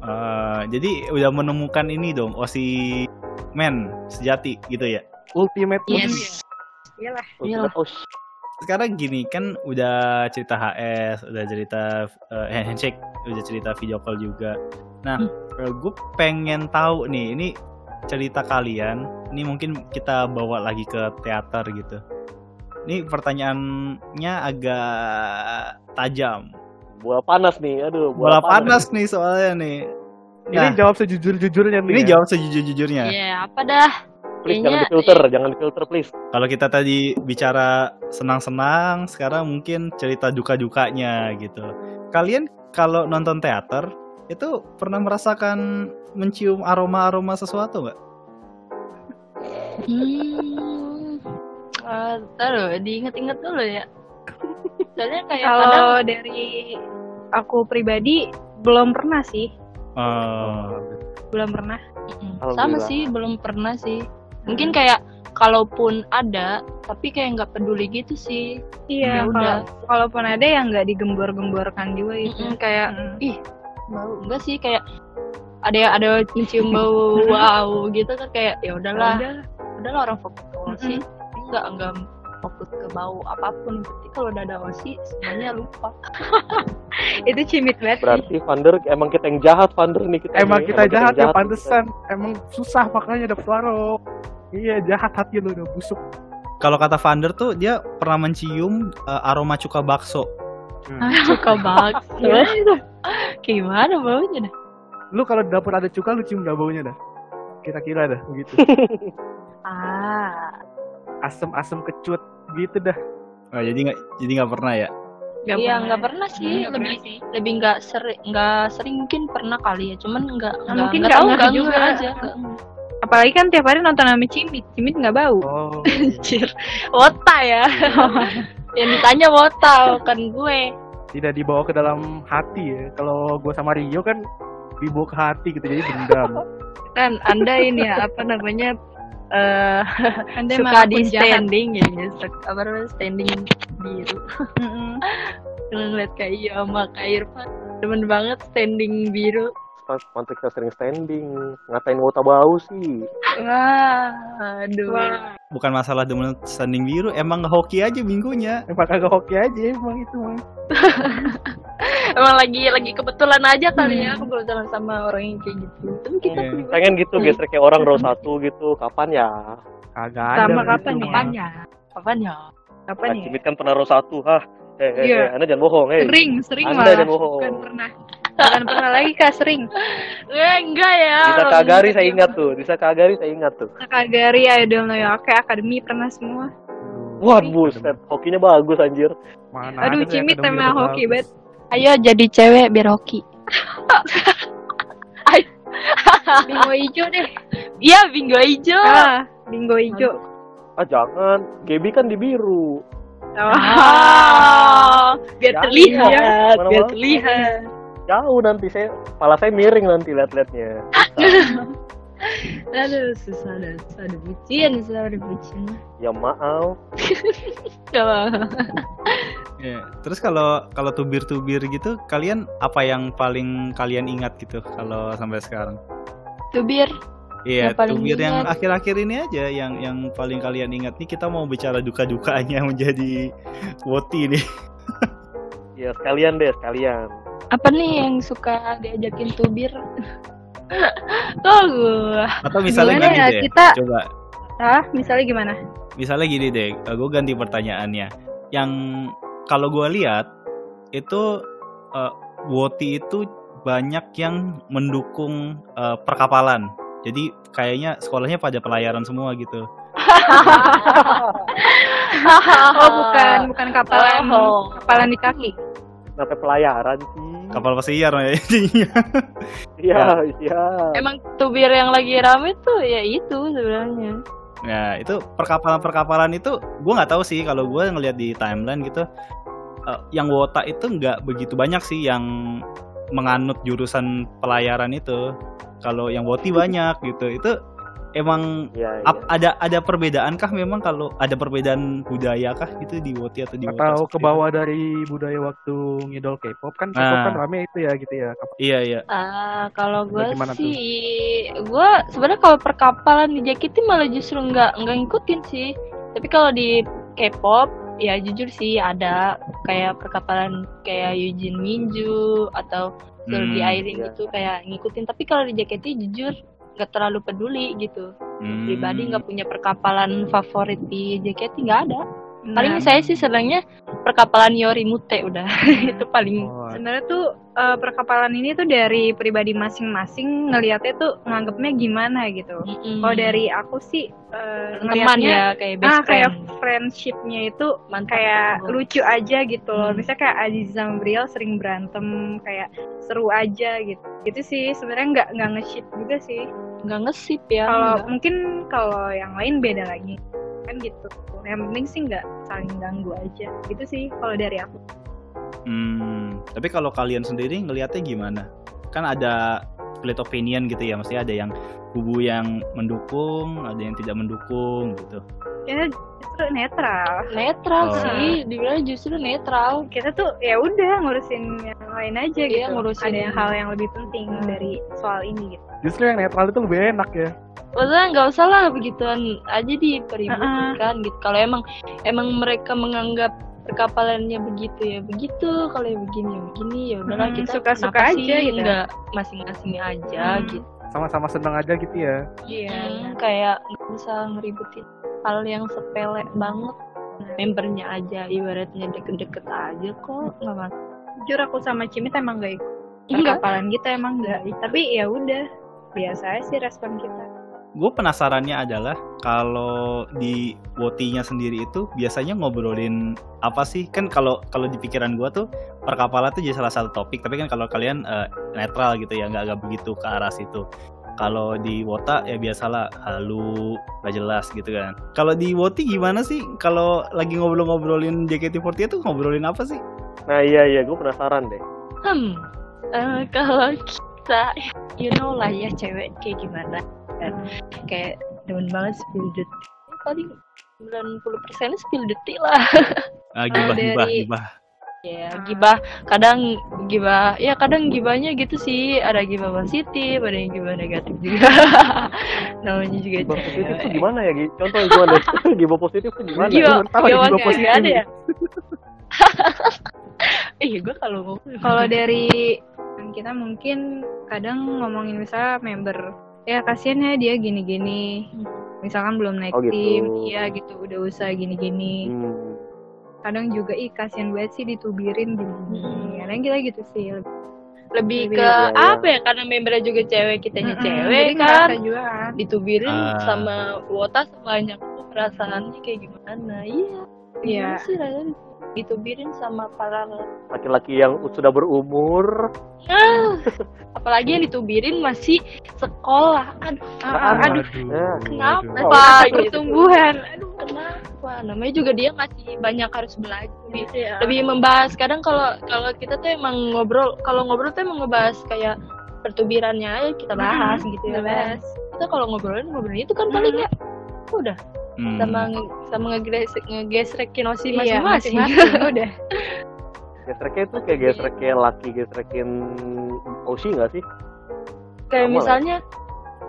Speaker 1: Eh, jadi udah menemukan ini dong Osi men sejati gitu ya.
Speaker 2: Ultimate
Speaker 5: Iya,
Speaker 4: Yes.
Speaker 2: movie.
Speaker 5: Iyalah.
Speaker 4: Iyalah.
Speaker 3: Oh, sh-
Speaker 1: Sekarang gini kan udah cerita HS, udah cerita eh, handshake, udah cerita video call juga. Nah,
Speaker 2: Hmm.
Speaker 1: gue pengen tahu nih ini cerita kalian. Ini mungkin kita bawa lagi ke teater gitu. Ini pertanyaannya agak tajam.
Speaker 3: bola panas nih, aduh.
Speaker 1: Bola panas nih soalnya nih.
Speaker 2: Ini
Speaker 1: Nah,
Speaker 2: jawab sejujur-jujurnya nih.
Speaker 1: ini
Speaker 2: ya.
Speaker 1: jawab sejujur-jujurnya.
Speaker 4: Ya, apa dah
Speaker 3: Please jangan
Speaker 4: Kayaknya-
Speaker 3: difilter, jangan difilter please.
Speaker 1: Kalau kita tadi bicara senang-senang, sekarang mungkin cerita duka-dukanya gitu. Kalian kalau nonton teater itu pernah merasakan mencium aroma-aroma sesuatu nggak?
Speaker 4: hmm, Eh, ntar dulu, diinget-inget dulu ya soalnya kayak kadang
Speaker 5: Kalau dari aku pribadi belum pernah sih,
Speaker 1: Eh,
Speaker 2: Eh,
Speaker 5: belum pernah.
Speaker 4: Mm-mm. sama
Speaker 3: Alhamdulillah.
Speaker 4: sih belum pernah sih mungkin kayak kalaupun ada tapi kayak nggak peduli gitu sih Ya
Speaker 5: Iya, kalau kalaupun ada yang nggak digembor-gemborkan juga gitu.
Speaker 4: Mm-mm, kayak
Speaker 5: Mm.
Speaker 4: bau enggak sih kayak ada ada mencium bau wow gitu kan kayak ya udahlah
Speaker 5: Udah.
Speaker 4: udahlah orang fokus ke osi Ini enggak enggak fokus ke bau apapun berarti kalau udah ada osi semuanya lupa
Speaker 5: Itu cimit banget. sih.
Speaker 3: Berarti Vander emang kita yang jahat Vander nih kita.
Speaker 2: Emang
Speaker 3: nih.
Speaker 2: kita jahat ya
Speaker 3: yang
Speaker 2: pantesan. Emang susah makanya dapet waro. Iya jahat hati lu udah busuk.
Speaker 1: Kalau kata Vander tuh dia pernah mencium eh, aroma cuka bakso.
Speaker 4: suka banget Gimana? Iya. gimana baunya dah
Speaker 2: Lu kalau di dapur ada cuka lu cium dah baunya dah. Kira-kira dah gitu. begitu.
Speaker 4: ah
Speaker 2: Asem-asem kecut gitu dah.
Speaker 1: Oh, jadi nggak jadi nggak pernah ya?
Speaker 4: iya nggak pernah sih
Speaker 5: Nggak
Speaker 4: lebih
Speaker 5: pernah sih.
Speaker 4: lebih nggak sering nggak sering mungkin pernah kali ya cuman nggak
Speaker 5: Nah,
Speaker 4: nggak
Speaker 5: mungkin
Speaker 4: nggak
Speaker 5: nggak
Speaker 4: tahu
Speaker 5: ngeh
Speaker 4: nggak
Speaker 5: juga.
Speaker 4: juga aja nggak ngeh.
Speaker 5: Apalagi kan tiap hari nonton sama cimit, cimit nggak bau.
Speaker 2: Oh.
Speaker 4: Anjir, wota ya. Yang Ya, ditanya wota, bukan gue.
Speaker 2: tidak dibawa ke dalam hati ya. Kalau gue sama Rio kan dibawa ke hati gitu jadi dendam.
Speaker 6: kan anda ini ya apa namanya eh
Speaker 5: Anda
Speaker 6: suka di
Speaker 5: manapun jahat.
Speaker 6: standing ya ya, suka-
Speaker 4: Apa namanya standing biru.
Speaker 5: Mm-mm.
Speaker 6: ngeliat kayak iya sama kak Irfan demen banget standing biru
Speaker 3: Pantek kita sering standing, ngatain wota bau sih.
Speaker 6: wah aduh
Speaker 5: Wah.
Speaker 1: Bukan masalah demen standing biru, emang hoki aja minggunya.
Speaker 2: Emang kagak hoki aja emang itu mah.
Speaker 4: Emang lagi lagi kebetulan aja kali
Speaker 5: Hmm.
Speaker 4: ya kebetulan sama orang yang kayak gitu. Tapi kita
Speaker 1: Iya.
Speaker 4: pribadi
Speaker 3: Pengen gitu geser kayak orang row satu gitu. Kapan ya?
Speaker 2: Kagak ada.
Speaker 5: Sama
Speaker 2: gitu
Speaker 5: kapan ya?
Speaker 2: mah.
Speaker 5: Kapan
Speaker 4: apanya? Kapan ya?
Speaker 5: Kapan
Speaker 3: Nah,
Speaker 5: ya?
Speaker 3: Cimit kan pernah row satu, hah? Hei, hei,
Speaker 5: Iya.
Speaker 3: hei, Anda jangan bohong, eh. hei.
Speaker 5: Sering, sering
Speaker 3: Anda
Speaker 5: malah.
Speaker 3: jangan bohong.
Speaker 5: Bukan pernah. Bukan pernah lagi kak, sering.
Speaker 4: Eh, enggak ya.
Speaker 3: Bisa kagari saya ingat tuh, bisa kagari saya ingat tuh.
Speaker 5: Kagari, Idol No Yoke, Akademi pernah semua.
Speaker 3: Wah, buset, hokinya bagus anjir.
Speaker 2: Mana ada
Speaker 5: Aduh,
Speaker 2: kayak
Speaker 5: cimit
Speaker 2: kadang
Speaker 5: emang
Speaker 2: bilang
Speaker 5: hoki
Speaker 2: bagus.
Speaker 5: banget.
Speaker 4: Ayo jadi cewek biar hoki.
Speaker 5: Bingo hijau deh.
Speaker 4: Iya, bingo ijo.
Speaker 5: Ah, bingo hijau.
Speaker 3: Ah, jangan. Gebi kan di biru.
Speaker 5: Oh.
Speaker 4: Ah, biar
Speaker 3: Jangan.
Speaker 4: terlihat.
Speaker 3: Mana-mana
Speaker 6: biar terlihat
Speaker 3: Jauh nanti saya, kepala saya miring nanti lihat-lihatnya.
Speaker 6: aduh susah dan susah dibucin susah dibucin
Speaker 3: Ya maaf.
Speaker 1: Iya. Terus kalau kalau tubir-tubir gitu, kalian apa yang paling kalian ingat gitu kalau sampai sekarang?
Speaker 4: Tubir.
Speaker 1: Iya,
Speaker 4: Yang paling
Speaker 1: tubir yang
Speaker 4: diingat.
Speaker 1: akhir-akhir ini aja yang yang paling kalian ingat nih kita mau bicara duka-dukanya menjadi woti nih.
Speaker 3: Ya sekalian deh, sekalian.
Speaker 4: Apa nih yang suka diajakin tubir? Kok gue?
Speaker 1: Atau misalnya
Speaker 5: Gimana
Speaker 1: gini
Speaker 5: ya,
Speaker 1: deh.
Speaker 5: kita-
Speaker 1: Coba
Speaker 5: Hah, misalnya gimana?
Speaker 1: misalnya gini deh, eh, gue ganti pertanyaannya. Yang kalau gue lihat itu eh, Woti itu banyak yang mendukung eh, perkapalan. Jadi kayaknya sekolahnya pada pelayaran semua gitu.
Speaker 5: Oh bukan, bukan kapalan,
Speaker 4: Oh.
Speaker 5: kapalan di kaki.
Speaker 3: Kenapa pelayaran sih?
Speaker 1: Kapal pesiar jadinya.
Speaker 3: Iya, iya.
Speaker 4: Emang tubir yang lagi rame tuh ya itu sebenarnya.
Speaker 1: Nah itu perkapalan-perkapalan itu gue nggak tahu sih kalau gue ngelihat di timeline gitu eh, yang wota itu nggak begitu banyak sih yang menganut jurusan pelayaran itu kalau yang woti banyak gitu itu emang
Speaker 3: Iya, iya.
Speaker 1: ap- ada ada perbedaankah memang kalau ada perbedaan budaya kah gitu di woti atau di Wota
Speaker 2: atau
Speaker 1: seperti
Speaker 2: ke
Speaker 1: itu?
Speaker 2: bawah dari budaya waktu ngidol K-pop kan K-pop
Speaker 1: Nah.
Speaker 2: kan rame itu ya gitu ya
Speaker 1: iya iya
Speaker 4: Ah, kalau gue
Speaker 2: Bagaimana tuh?
Speaker 4: sih, gue sebenarnya kalau perkapalan di JKT malah justru nggak nggak ngikutin sih. Tapi kalau di K-pop ya jujur sih ada kayak perkapalan kayak Yujin Minju atau Jordi
Speaker 1: Hmm,
Speaker 4: Airin
Speaker 3: iya.
Speaker 4: gitu kayak ngikutin. Tapi kalau di JKT jujur nggak terlalu peduli gitu.
Speaker 1: Hmm.
Speaker 4: Pribadi nggak punya perkapalan favorit di JKT nggak ada. Paling
Speaker 5: Nah,
Speaker 4: saya sih senangnya perkapalan Yori Mute udah itu
Speaker 5: Hmm.
Speaker 4: paling
Speaker 2: Oh,
Speaker 5: sebenarnya tuh eh, perkapalan ini tuh dari pribadi masing-masing ngelihatnya tuh nganggapnya gimana gitu. Kalau dari aku sih eh,
Speaker 4: Hmm. teman
Speaker 5: ngelihatnya-
Speaker 4: ya kayak best
Speaker 5: ah kayak
Speaker 4: friend.
Speaker 5: friendshipnya itu
Speaker 4: Mantap.
Speaker 5: kayak
Speaker 4: Oh.
Speaker 5: lucu aja gitu loh.
Speaker 4: Hmm.
Speaker 5: Misalnya kayak Aziz sama Briel sering berantem, kayak seru aja gitu. Gitu sih sebenarnya nggak nggak nge-ship juga sih.
Speaker 4: nggak ngesip ya
Speaker 5: Kalau
Speaker 4: nggak.
Speaker 5: mungkin kalau yang lain beda lagi kan gitu. Yang penting sih nggak saling ganggu aja. Gitu sih kalau dari aku.
Speaker 1: Hmm, tapi kalau kalian sendiri ngelihatnya gimana? Kan ada split opinion gitu ya, maksudnya ada yang kubu yang mendukung, ada yang tidak mendukung gitu.
Speaker 5: Kita Ya, justru netral.
Speaker 4: netral
Speaker 1: Oh.
Speaker 4: sih dibilang justru netral
Speaker 5: Kita tuh ya udah ngurusin yang lain aja
Speaker 4: Iya,
Speaker 5: gitu.
Speaker 4: ngurusin. Hmm.
Speaker 5: Ada yang hal yang lebih penting dari soal ini gitu.
Speaker 2: justru yang netral itu lebih enak ya
Speaker 4: maksudnya nggak usah lah begituan aja dipeributkan gitu kalau emang emang mereka menganggap perkapalannya begitu ya begitu kalau yang begini ya begini ya udahlah
Speaker 5: Hmm,
Speaker 4: kita
Speaker 5: suka-suka
Speaker 4: kenapa
Speaker 5: aja
Speaker 4: sih
Speaker 5: gitu.
Speaker 4: nggak masing-masing aja
Speaker 5: Hmm.
Speaker 4: gitu
Speaker 2: sama-sama seneng aja gitu ya
Speaker 5: Iya.
Speaker 4: Hmm, kayak nggak usah ngeributin hal yang sepele banget membernya aja ibaratnya deket-deket aja kok nggak masalah
Speaker 5: Jujur aku sama Cimit emang gak ikut.
Speaker 4: Nggak.
Speaker 5: Perkapalan kita emang nggak. Tapi ya udah biasa sih respon kita.
Speaker 1: Gue penasarannya adalah kalau di wotinya sendiri itu biasanya ngobrolin apa sih? Kan kalau kalau di pikiran gue tuh perkapalan tuh jadi salah satu topik, tapi kan kalau kalian eh, netral gitu ya, nggak nggak begitu ke arah situ. Kalau di Wota ya biasalah halu, nggak jelas gitu kan. Kalau di Woti gimana sih? Kalau lagi ngobrol-ngobrolin JKT48 tuh ngobrolin apa sih?
Speaker 3: Nah, iya iya, gue penasaran deh.
Speaker 4: Hmm, eh, kalau kita, you know lah ya cewek kayak gimana, kan? kayak demen banget spill the tea. paling 90 persen spill the tea lah.
Speaker 1: Ah, gibah,
Speaker 5: dari-
Speaker 1: gibah, gibah.
Speaker 4: Ya gibah, kadang gibah, ya kadang gibahnya gitu sih, ada gibah positif, ada yang gibah negatif juga. Namanya juga
Speaker 3: Gibah positif tuh
Speaker 4: cewek.
Speaker 3: gimana ya? Gi? Contoh gimana? Gibah positif tuh gimana?
Speaker 2: Gua
Speaker 4: Gibah-
Speaker 2: baru tahu ya,
Speaker 4: gibah
Speaker 2: gibah
Speaker 4: kayak
Speaker 2: positif.
Speaker 4: ada ya? Ih, gue Iya, kalau ngomong
Speaker 5: kalau dari kita mungkin kadang ngomongin misalnya member ya kasihan ya dia gini-gini misalkan belum naik
Speaker 3: Oh, gitu.
Speaker 5: tim iya gitu udah usaha gini-gini
Speaker 3: Hmm.
Speaker 5: kadang juga ih kasihan banget sih ditubirin gini-gini
Speaker 4: Hmm.
Speaker 5: kadang kita gitu sih lebih
Speaker 4: lebih
Speaker 5: Lebih-
Speaker 4: ke
Speaker 3: Iya, iya.
Speaker 4: apa ya? Karena membernya juga cewek, kitanya
Speaker 5: Mm-mm,
Speaker 4: cewek
Speaker 5: jadi
Speaker 4: kan.
Speaker 5: ngerasa juga kan
Speaker 4: ditubirin
Speaker 1: Ah.
Speaker 4: sama wota sebanyak itu perasaannya kayak gimana iya
Speaker 5: Iya.
Speaker 4: gimana sih rasanya ditubirin sama para
Speaker 3: Laki-laki yang sudah berumur.
Speaker 4: Ah, apalagi yang ditubirin masih sekolah aduh
Speaker 5: Ah, ah, aduh
Speaker 3: Nah,
Speaker 4: kenapa
Speaker 5: Apa
Speaker 4: gitu
Speaker 5: pertumbuhan
Speaker 4: aduh kenapa namanya juga dia masih banyak harus belajar lebih,
Speaker 5: Iya.
Speaker 4: lebih membahas kadang kalau kalau kita tuh emang ngobrol kalau ngobrol tuh emang ngebahas kayak pertubirannya aja kita bahas gitu ya
Speaker 5: kita bahas
Speaker 4: kita kalau ngobrolin ngobrolin itu kan paling ya udah
Speaker 1: Hmm.
Speaker 4: sama nge- sama ngegesrek ngegesrek kinosi
Speaker 5: Iya,
Speaker 4: masing-masing.
Speaker 5: masing-masing, udah
Speaker 3: Gesreknya itu kayak gesreknya laki gesrekin Oshi nggak sih?
Speaker 4: kayak
Speaker 3: Sama lah.
Speaker 4: misalnya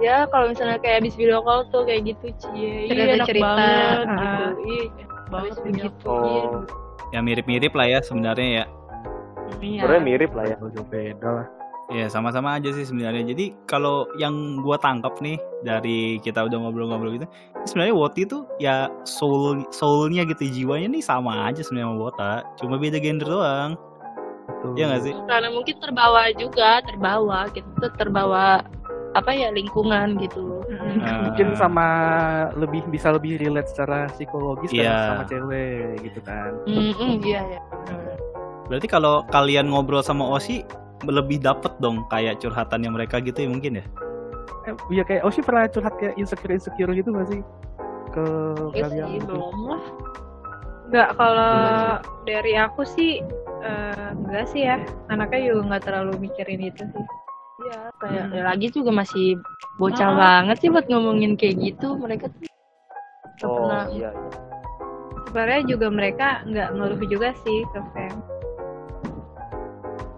Speaker 4: ya kalau misalnya kayak habis video call tuh kayak gitu cie iya enak
Speaker 5: Cerita-cerita,
Speaker 4: banget
Speaker 5: ah.
Speaker 4: gitu iya enak banget begitu iya
Speaker 3: Oh.
Speaker 1: Ya mirip-mirip lah ya sebenarnya ya.
Speaker 4: Iya.
Speaker 3: Sebenarnya mirip lah ya.
Speaker 2: Udah beda lah
Speaker 1: Ya sama-sama aja sih sebenarnya. Jadi kalau yang gua tangkap nih dari kita udah ngobrol-ngobrol gitu, sebenarnya Woti itu ya soul soulnya gitu jiwanya nih sama aja sebenarnya sama Wota, cuma beda gender doang.
Speaker 2: Betul.
Speaker 1: Iya nggak sih?
Speaker 4: karena mungkin terbawa juga terbawa gitu terbawa apa ya lingkungan gitu
Speaker 2: Mungkin
Speaker 1: Ah,
Speaker 2: sama lebih bisa lebih relate secara psikologis kan
Speaker 1: Iya.
Speaker 2: sama cewek gitu kan.
Speaker 4: Mm-mm, iya ya
Speaker 1: Berarti kalau kalian ngobrol sama Osi lebih dapet dong kayak curhatannya mereka gitu ya mungkin ya.
Speaker 2: Eh, iya kayak oh sih pernah curhat kayak insecure insecure gitu gak sih ke
Speaker 4: Iya
Speaker 2: kalian?
Speaker 4: sih
Speaker 2: gitu?
Speaker 4: belum lah
Speaker 5: Enggak, kalau dari aku sih eh, enggak sih ya. Anaknya juga nggak terlalu mikirin itu sih.
Speaker 4: Iya, kayak
Speaker 5: Hmm.
Speaker 4: ya lagi juga masih bocah
Speaker 5: Ah.
Speaker 4: banget sih buat ngomongin kayak gitu mereka tuh nggak
Speaker 3: Oh
Speaker 4: pernah
Speaker 3: iya.
Speaker 5: Sebenarnya juga mereka nggak ngeluh juga sih ke fam.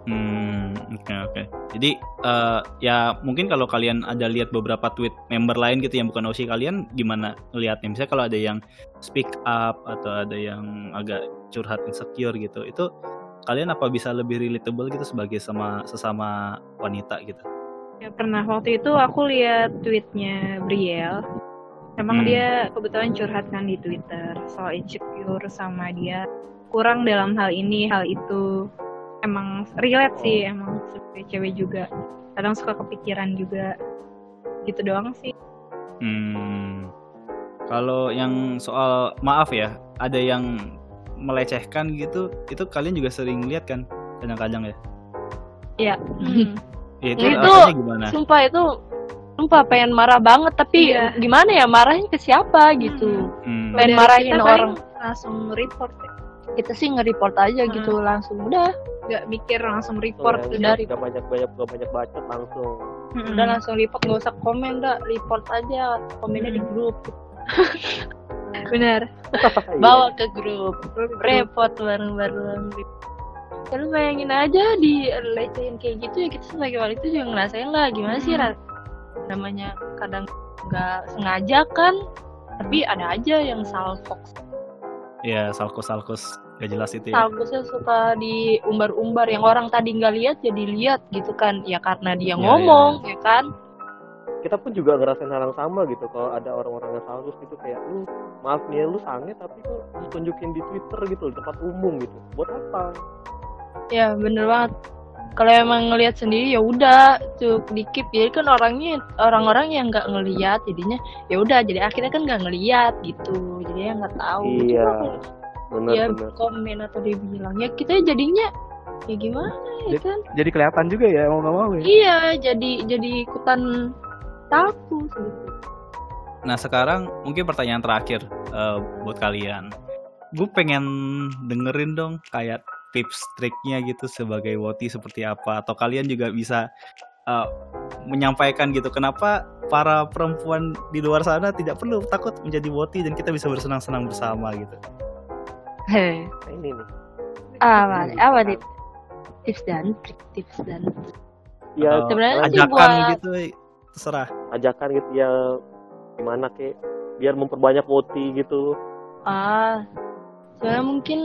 Speaker 1: Hmm, oke oke. Jadi eh, ya mungkin kalau kalian ada lihat beberapa tweet member lain gitu yang bukan OC kalian gimana ngelihatnya? Misalnya kalau ada yang speak up atau ada yang agak curhat insecure gitu, itu kalian apa bisa lebih relatable gitu sebagai sama sesama wanita gitu?
Speaker 5: Ya pernah waktu itu aku lihat tweetnya Brielle. Emang
Speaker 1: Hmm.
Speaker 5: dia kebetulan curhatkan di Twitter soal insecure sama dia kurang dalam hal ini hal itu. Emang relate sih emang sebagai cewek juga. Kadang suka kepikiran juga. Gitu doang sih.
Speaker 1: Hmm. Kalau yang soal maaf ya, ada yang melecehkan gitu, itu kalian juga sering lihat kan kadang-kadang ya.
Speaker 4: Hmm.
Speaker 1: Ya, itu
Speaker 4: Itu-
Speaker 1: rasanya gimana?
Speaker 4: sumpah itu sumpah pengen marah banget tapi
Speaker 5: Iya.
Speaker 4: gimana ya marahnya ke siapa gitu
Speaker 1: Hmm.
Speaker 4: Pengen
Speaker 5: Dari
Speaker 4: marahin
Speaker 5: kita
Speaker 4: orang.
Speaker 5: paling langsung report ya.
Speaker 4: kita sih nge-report aja
Speaker 5: Hmm.
Speaker 4: gitu langsung udah
Speaker 5: nggak mikir langsung report Hmm.
Speaker 3: Port
Speaker 4: udah
Speaker 3: Iya, Gak banyak banyak gak banyak bacot langsung.
Speaker 4: udah langsung report nggak usah komen dah report aja komennya di grup gitu.
Speaker 5: benar
Speaker 3: Iya.
Speaker 4: bawa ke grup report bareng-bareng ya lu bayangin aja di lecehin kayak gitu ya kita sebagai wanita juga ngerasain lah gimana sih
Speaker 5: Hmm.
Speaker 4: Ra? namanya kadang nggak sengaja kan tapi ada aja yang salfok
Speaker 1: Ya, salkus-salkus gak jelas itu ya.
Speaker 4: salfoknya suka diumbar-umbar yang orang tadi nggak lihat jadi lihat gitu kan ya karena dia
Speaker 1: Ya,
Speaker 4: ngomong ya, kan
Speaker 3: Kita pun juga ngerasain hal yang sama gitu. Kalau ada orang-orang yang salus gitu kayak lu maaf nih ya, lu sange tapi kok lu tunjukin di Twitter gitu di tempat umum gitu. Buat apa?
Speaker 4: ya bener banget kalau emang ngelihat sendiri ya udah cukup dikip jadi kan orangnya orang-orang yang nggak ngelihat jadinya ya udah jadi akhirnya kan nggak ngelihat gitu jadi ya nggak tahu
Speaker 3: Iya.
Speaker 4: Coba kalau
Speaker 3: Bener
Speaker 4: dia
Speaker 3: bener.
Speaker 4: komen atau dia bilang ya kita jadinya ya gimana ya kan
Speaker 2: Jadi kelihatan juga ya mau nggak mau ya.
Speaker 4: iya jadi jadi ikutan takut gitu
Speaker 1: Nah sekarang mungkin pertanyaan terakhir eh, buat kalian. Gue pengen dengerin dong kayak tips triknya gitu sebagai woti seperti apa atau kalian juga bisa eh, menyampaikan gitu kenapa para perempuan di luar sana tidak perlu takut menjadi woti dan kita bisa bersenang-senang bersama gitu.
Speaker 3: Nah, ini nih.
Speaker 4: apa apa nih
Speaker 5: Hmm.
Speaker 4: tips dan trik tips dan
Speaker 3: Ya
Speaker 1: Atau
Speaker 4: sebenarnya sih
Speaker 1: ajakan
Speaker 4: buat-
Speaker 1: gitu terserah.
Speaker 3: ajakan gitu ya gimana kek biar memperbanyak voti gitu.
Speaker 4: Ah, sebenarnya mungkin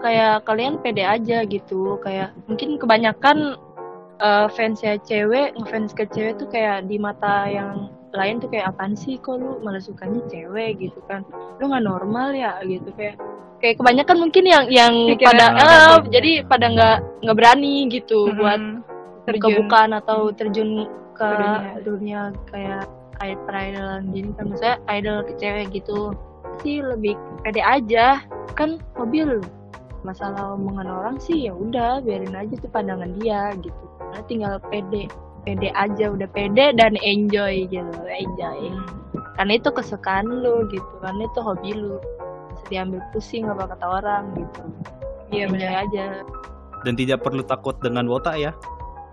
Speaker 4: kayak kalian pede aja gitu, kayak mungkin kebanyakan eh, fansnya cewek, ngefans ke cewek tuh kayak di mata yang lain tuh kayak apaan sih kok lu malah sukanya cewek gitu kan, lu nggak normal ya gitu kayak kayak kebanyakan mungkin yang yang
Speaker 5: Pikiran.
Speaker 4: pada
Speaker 1: Ah,
Speaker 4: eh,
Speaker 1: bener.
Speaker 4: jadi pada nggak nggak berani gitu buat
Speaker 5: terbuka
Speaker 4: kebukaan atau terjun ke
Speaker 5: Ke dunia.
Speaker 4: dunia kayak idol peridolan gini kan maksudnya idol ke cewek gitu sih lebih pede aja kan mobil masalah omongan orang sih ya udah biarin aja tuh pandangan dia gitu Nah, tinggal pede pede aja udah pede dan enjoy gitu enjoy
Speaker 5: Hmm.
Speaker 4: karena itu kesukaan lu gitu karena itu hobi lu Nggak usah diambil pusing apa kata orang gitu
Speaker 5: iya
Speaker 4: enjoy
Speaker 5: benar
Speaker 4: aja
Speaker 1: Dan tidak perlu takut dengan wota ya.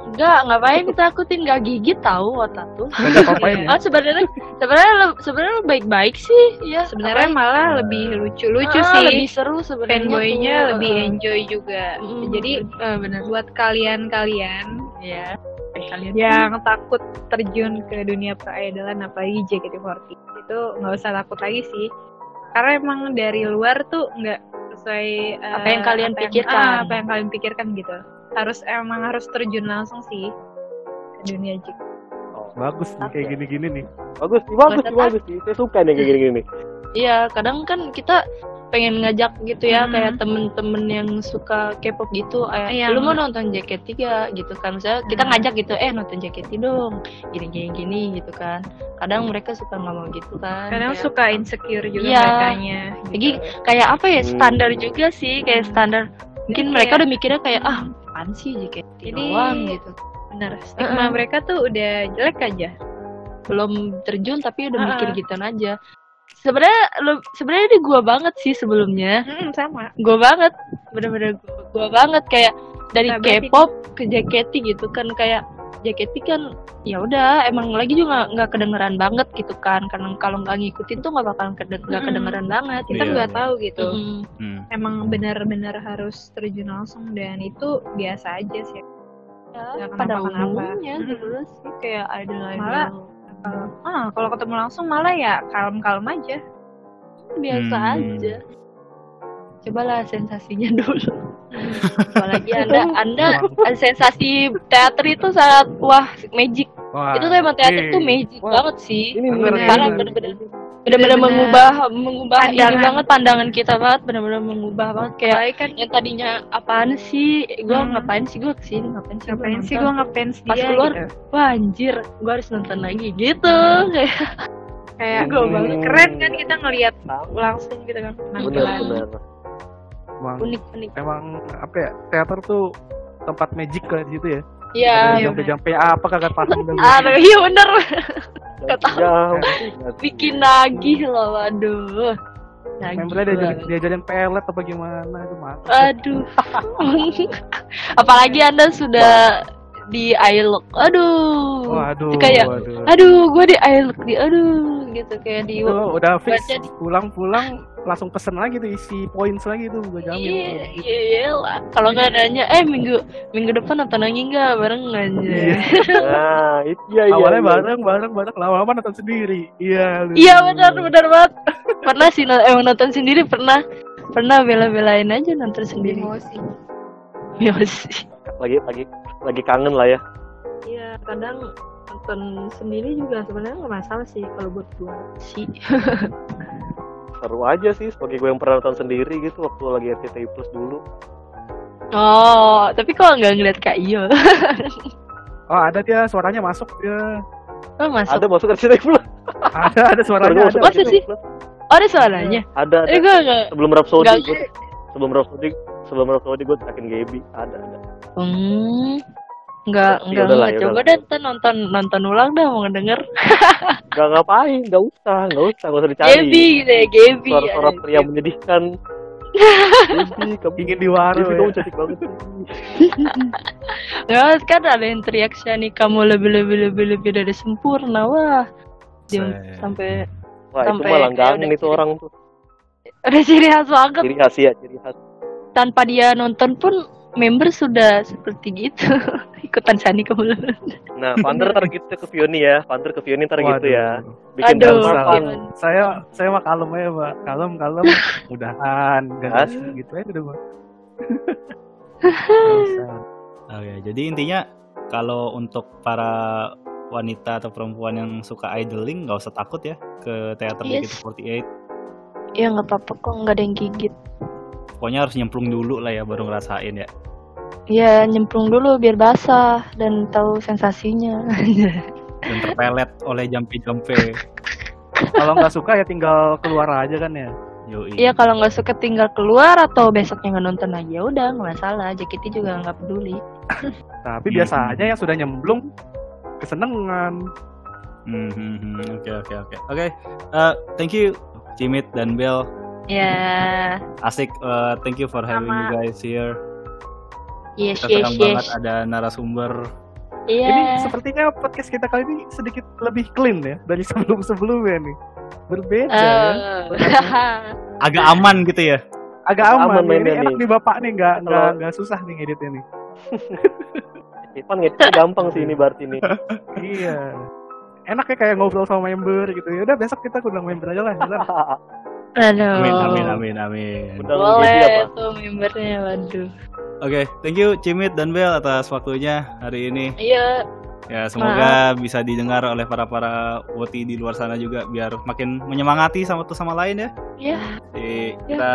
Speaker 4: enggak ngapain takutin gak gigit tahu otak tuh
Speaker 2: Nggak apa-apain ya.
Speaker 4: Oh sebenarnya sebenarnya lo- sebenarnya lo baik-baik sih ya
Speaker 5: sebenarnya malah lebih lucu-lucu
Speaker 4: Ah,
Speaker 5: sih
Speaker 4: lebih seru Ah, sebenarnya
Speaker 5: fanboynya
Speaker 4: tuh.
Speaker 5: lebih
Speaker 4: Heeh.
Speaker 5: enjoy juga
Speaker 4: Mm,
Speaker 5: jadi
Speaker 4: eh, benar
Speaker 5: buat kalian-kalian
Speaker 4: ya kalian
Speaker 5: yang takut terjun ke dunia peridolan apalagi JKT48 itu nggak usah takut lagi sih karena emang dari luar tuh nggak sesuai eh,
Speaker 4: Apa yang kalian pikirkan.
Speaker 5: ah, apa yang kalian pikirkan gitu harus emang harus terjun langsung sih ke dunia JKT
Speaker 4: Iya.
Speaker 3: Oh.
Speaker 2: Bagus nih kayak gini-gini nih.
Speaker 3: Bagus, nih, bagus,
Speaker 4: Buat
Speaker 3: nih, bagus. nih. Saya suka nih kayak gini-gini.
Speaker 4: Iya, kadang kan kita pengen ngajak gitu ya
Speaker 6: Hmm.
Speaker 4: kayak temen-temen yang suka K-pop gitu, eh,
Speaker 6: Iya.
Speaker 4: lu mau nonton JKT3 gitu kan. Misalnya kita
Speaker 6: Hmm.
Speaker 4: ngajak gitu, eh nonton JKT dong. Gini gini gini gitu kan. Kadang mereka suka nggak mau gitu kan.
Speaker 5: kadang
Speaker 4: Kayak-
Speaker 5: suka insecure juga
Speaker 4: Iya.
Speaker 5: merekanya
Speaker 4: Jadi kayak apa ya standar juga sih, kayak standar. Mungkin
Speaker 5: Jadi
Speaker 4: mereka
Speaker 5: kayak-
Speaker 4: udah mikirnya kayak ah, apaan sih JKT
Speaker 5: Jadi-
Speaker 4: doang gitu.
Speaker 5: benar stigma
Speaker 4: Mm-mm.
Speaker 5: mereka tuh udah jelek aja
Speaker 4: belum terjun tapi udah
Speaker 5: Ah,
Speaker 4: mikir
Speaker 5: ah.
Speaker 4: gitu aja sebenarnya lu- sebenarnya ini gua banget sih sebelumnya
Speaker 5: Mm, sama
Speaker 4: gua banget bener-bener gua, gua banget kayak dari
Speaker 5: Nah, berarti-
Speaker 4: K-pop ke JKT gitu kan kayak JKT kan ya udah emang lagi juga nggak kedengeran banget gitu kan karena kalau nggak ngikutin tuh nggak bakalan kede- nggak
Speaker 5: Mm-mm.
Speaker 4: kedengeran banget
Speaker 5: kita
Speaker 1: Iya.
Speaker 5: nggak tahu gitu
Speaker 4: Mm.
Speaker 1: Hmm.
Speaker 5: emang benar-benar harus terjun langsung dan itu biasa aja sih
Speaker 4: ya,
Speaker 5: Nggak
Speaker 4: pada
Speaker 5: kenapa-kenapa.
Speaker 4: umumnya
Speaker 5: Mm-mm.
Speaker 4: sebenarnya sih kayak idol-idol
Speaker 5: Malah kalau ah, kalau ketemu langsung malah ya kalem-kalem aja
Speaker 4: biasa
Speaker 1: Hmm.
Speaker 4: aja cobalah sensasinya dulu apalagi anda anda eh, sensasi teater itu sangat wah magic
Speaker 2: Wah,
Speaker 4: itu tuh emang teater
Speaker 2: iya.
Speaker 4: tuh magic
Speaker 2: Wah,
Speaker 4: banget sih
Speaker 3: Ini
Speaker 2: Bener,
Speaker 3: bener.
Speaker 4: parah
Speaker 2: bener.
Speaker 4: bener-bener bener-bener
Speaker 5: Bener-bener
Speaker 4: mengubah mengubah ini
Speaker 5: pandangan.
Speaker 4: banget pandangan kita banget bener-bener mengubah banget kayak
Speaker 5: Apalagi kan
Speaker 4: yang tadinya apaan sih gue
Speaker 5: Hmm.
Speaker 4: ngapain sih gue kesini ngapain sih gua
Speaker 5: ngapain sih
Speaker 4: nonton?
Speaker 5: gue ngefans dia
Speaker 4: Pas keluar,
Speaker 5: gitu.
Speaker 4: wah anjir gue harus nonton lagi gitu kayak
Speaker 5: kayak
Speaker 4: Gua banget.
Speaker 1: Iya.
Speaker 5: keren kan kita ngelihat langsung gitu kan
Speaker 3: Bener,
Speaker 5: penampilan
Speaker 3: bener.
Speaker 2: emang,
Speaker 4: unik unik
Speaker 2: emang apa ya teater tuh tempat magic lah di situ ya
Speaker 4: ya
Speaker 2: jam
Speaker 5: Iya,
Speaker 2: jam PA apa kagak pasang dulu
Speaker 4: ah iya bener
Speaker 3: Gak tahu.
Speaker 4: bikin nagih loh waduh nagih
Speaker 2: membernya diajarin,
Speaker 4: banget.
Speaker 2: diajarin pelet apa gimana itu mah
Speaker 4: aduh apalagi anda sudah di ailok aduh
Speaker 2: waduh
Speaker 4: kayak-
Speaker 2: waduh
Speaker 4: aduh gue di ailok di aduh gitu kayak
Speaker 2: itu
Speaker 4: di
Speaker 2: udah fix
Speaker 4: baca di-
Speaker 2: pulang-pulang langsung pesen lagi tuh isi points lagi tuh gue jamin
Speaker 4: Iya, iya, iya lah. Kalau nggak nanya, eh minggu minggu depan nonton lagi nggak bareng aja.
Speaker 2: Iya.
Speaker 3: Nah, itu ya iya.
Speaker 2: awalnya
Speaker 3: iya.
Speaker 2: bareng bareng bareng lama-lama nonton sendiri iya lu.
Speaker 4: Iya benar benar banget. Pernah sih no- emang nonton sendiri pernah pernah bela-belain aja nonton sendiri.
Speaker 2: Iya.
Speaker 4: Iya
Speaker 5: emosi
Speaker 4: Emosi.
Speaker 3: Lagi lagi lagi kangen lah ya.
Speaker 6: Iya, kadang nonton sendiri juga sebenarnya nggak masalah sih kalau buat gua.
Speaker 4: Si.
Speaker 3: Seru aja sih sebagai gue yang pernah nonton sendiri gitu waktu lagi RCTI Plus dulu.
Speaker 4: Oh, tapi kok nggak ngeliat Kak Iyo?
Speaker 2: oh ada dia suaranya masuk dia
Speaker 4: Oh, masuk.
Speaker 3: Ada masuk RCTI Plus.
Speaker 2: ada ada suaranya ada
Speaker 3: Baru masuk
Speaker 4: Masa
Speaker 3: RCTI
Speaker 4: sih?
Speaker 3: Plus.
Speaker 4: Oh, ada suaranya.
Speaker 3: Ada ada.
Speaker 4: Eh, gue nggak.
Speaker 3: Sebelum Rhapsody
Speaker 4: Nggak-
Speaker 3: gue sebelum Rhapsody sebelum Rhapsody gue terakhir Gaby ada ada.
Speaker 4: Hmm. Nggak,
Speaker 3: Ya udahlah,
Speaker 4: nggak, nggak.
Speaker 3: ya
Speaker 4: Coba
Speaker 3: udahlah.
Speaker 4: deh ntar nonton nonton ulang dah mau ngedenger.
Speaker 3: Gak ngapain, gak usah, gak usah, gak usah dicari.
Speaker 4: Gaby iya. gitu ya, Gaby.
Speaker 3: Suara-suara
Speaker 4: Ada
Speaker 3: pria menyedihkan. Gaby, kamu
Speaker 2: ingin diwaru
Speaker 3: Gaby,
Speaker 2: ya.
Speaker 3: kamu cantik banget.
Speaker 4: Nggak, kan ada yang teriak Shani kamu lebih lebih lebih lebih dari sempurna wah. Dia
Speaker 1: Set.
Speaker 4: sampai
Speaker 3: Wah, itu
Speaker 4: Sampai
Speaker 3: mah
Speaker 4: kayak
Speaker 3: langgangan
Speaker 4: udah gitu.
Speaker 3: itu
Speaker 4: ciri-
Speaker 3: orang tuh.
Speaker 4: udah ciri khas banget.
Speaker 3: Ciri khas ya, ciri khas.
Speaker 4: Tanpa dia nonton pun member sudah seperti gitu ikutan Shani kamu lebih.
Speaker 3: Nah, Panther ntar gitu ke Vioni ya. Panther ke Vioni ntar gitu
Speaker 2: Waduh.
Speaker 3: ya. Bikin
Speaker 4: Aduh.
Speaker 3: gampang.
Speaker 4: Gimana?
Speaker 2: saya saya mah kalem aja pak kalem kalem mudahan
Speaker 3: Hah?
Speaker 2: gas gitu aja udah gua Nggak usah.
Speaker 1: Oke, jadi intinya kalau untuk para wanita atau perempuan yang suka idling nggak usah takut ya ke teater
Speaker 4: Yes.
Speaker 1: JKT48.
Speaker 4: Ya nggak apa-apa kok nggak ada yang gigit.
Speaker 1: Pokoknya harus nyemplung dulu lah ya baru ngerasain ya.
Speaker 4: Ya nyemplung dulu biar basah dan tahu sensasinya.
Speaker 1: Dan terpelet oleh jampe-jampe.
Speaker 2: kalau nggak suka ya tinggal keluar aja kan ya
Speaker 1: Yoi.
Speaker 4: Iya kalau nggak suka tinggal keluar atau besoknya nggak nonton lagi ya udah nggak masalah. JKT juga nggak peduli.
Speaker 2: tapi
Speaker 3: Iya.
Speaker 1: Hmm.
Speaker 2: biasanya yang sudah nyemplung kesenangan
Speaker 1: Hmm, hmm, hmm. Oke, oke, oke. Oke. eh, thank you Cimit dan Bel.
Speaker 4: Ya,
Speaker 1: Asik. eh, thank you for having you
Speaker 5: Sama.
Speaker 1: guys here.
Speaker 4: yes
Speaker 1: Kita senang
Speaker 4: yes yes.
Speaker 1: banget ada narasumber.
Speaker 2: Ini
Speaker 4: Iya.
Speaker 2: sepertinya podcast kita kali ini sedikit lebih clean ya dari sebelum-sebelumnya nih. Berbeda ya.
Speaker 4: Eh.
Speaker 1: Agak aman gitu ya.
Speaker 2: Agak
Speaker 3: Agak
Speaker 2: aman,
Speaker 3: aman
Speaker 2: nih.
Speaker 3: mainnya
Speaker 2: Ini enak
Speaker 3: nih.
Speaker 2: nih Bapak nih nggak nggak
Speaker 3: Kalau-
Speaker 2: nggak susah nih ngeditnya nih.
Speaker 3: Ivan ngeditnya gampang sih ini berarti nih.
Speaker 2: Iya. Enak ya kayak ngobrol sama member gitu. Ya udah besok kita undang member aja lah. bener.
Speaker 4: Aduh.
Speaker 1: Amin, amin, amin, amin.
Speaker 3: Udah. Jadi
Speaker 4: Boleh
Speaker 3: apa?
Speaker 4: tuh membernya, waduh.
Speaker 1: Oke, thank you Cimit dan Bel atas waktunya hari ini.
Speaker 4: Iya,
Speaker 1: Ya
Speaker 2: Ah.
Speaker 1: semoga bisa didengar oleh para para woti di luar sana juga biar makin menyemangati sama satu sama lain ya.
Speaker 4: Iya.
Speaker 1: Jadi
Speaker 4: Ya,
Speaker 1: kita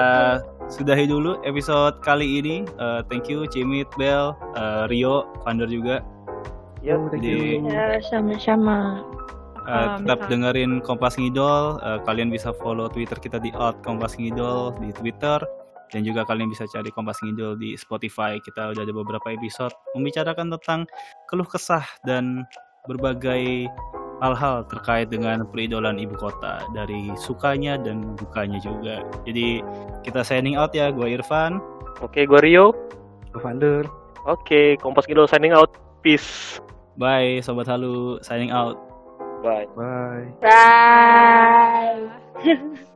Speaker 1: sudahi dulu episode kali ini. Eh, thank you Cimit, Bel, eh, Rio, Founder juga.
Speaker 2: Oh,
Speaker 3: Yap.
Speaker 2: thank
Speaker 1: Jadi-
Speaker 2: you.
Speaker 4: Ya, sama-sama.
Speaker 1: Eh,
Speaker 5: Ah,
Speaker 1: tetap dengerin Kompas Ngidol. Eh, kalian bisa follow Twitter kita di @kompasngidol di Twitter dan juga kalian bisa cari Kompas Ngidol di Spotify. Kita udah ada beberapa episode membicarakan tentang keluh kesah dan berbagai hal-hal terkait dengan peridolan ibu kota dari sukanya dan dukanya juga. Jadi kita signing out ya, gue Irfan.
Speaker 3: Oke, gua Rio.
Speaker 2: Founder.
Speaker 3: Oke, Kompas Kidul signing out. Peace.
Speaker 1: Bye, sobat halu. Signing out.
Speaker 3: Bye.
Speaker 2: Bye.
Speaker 4: Bye.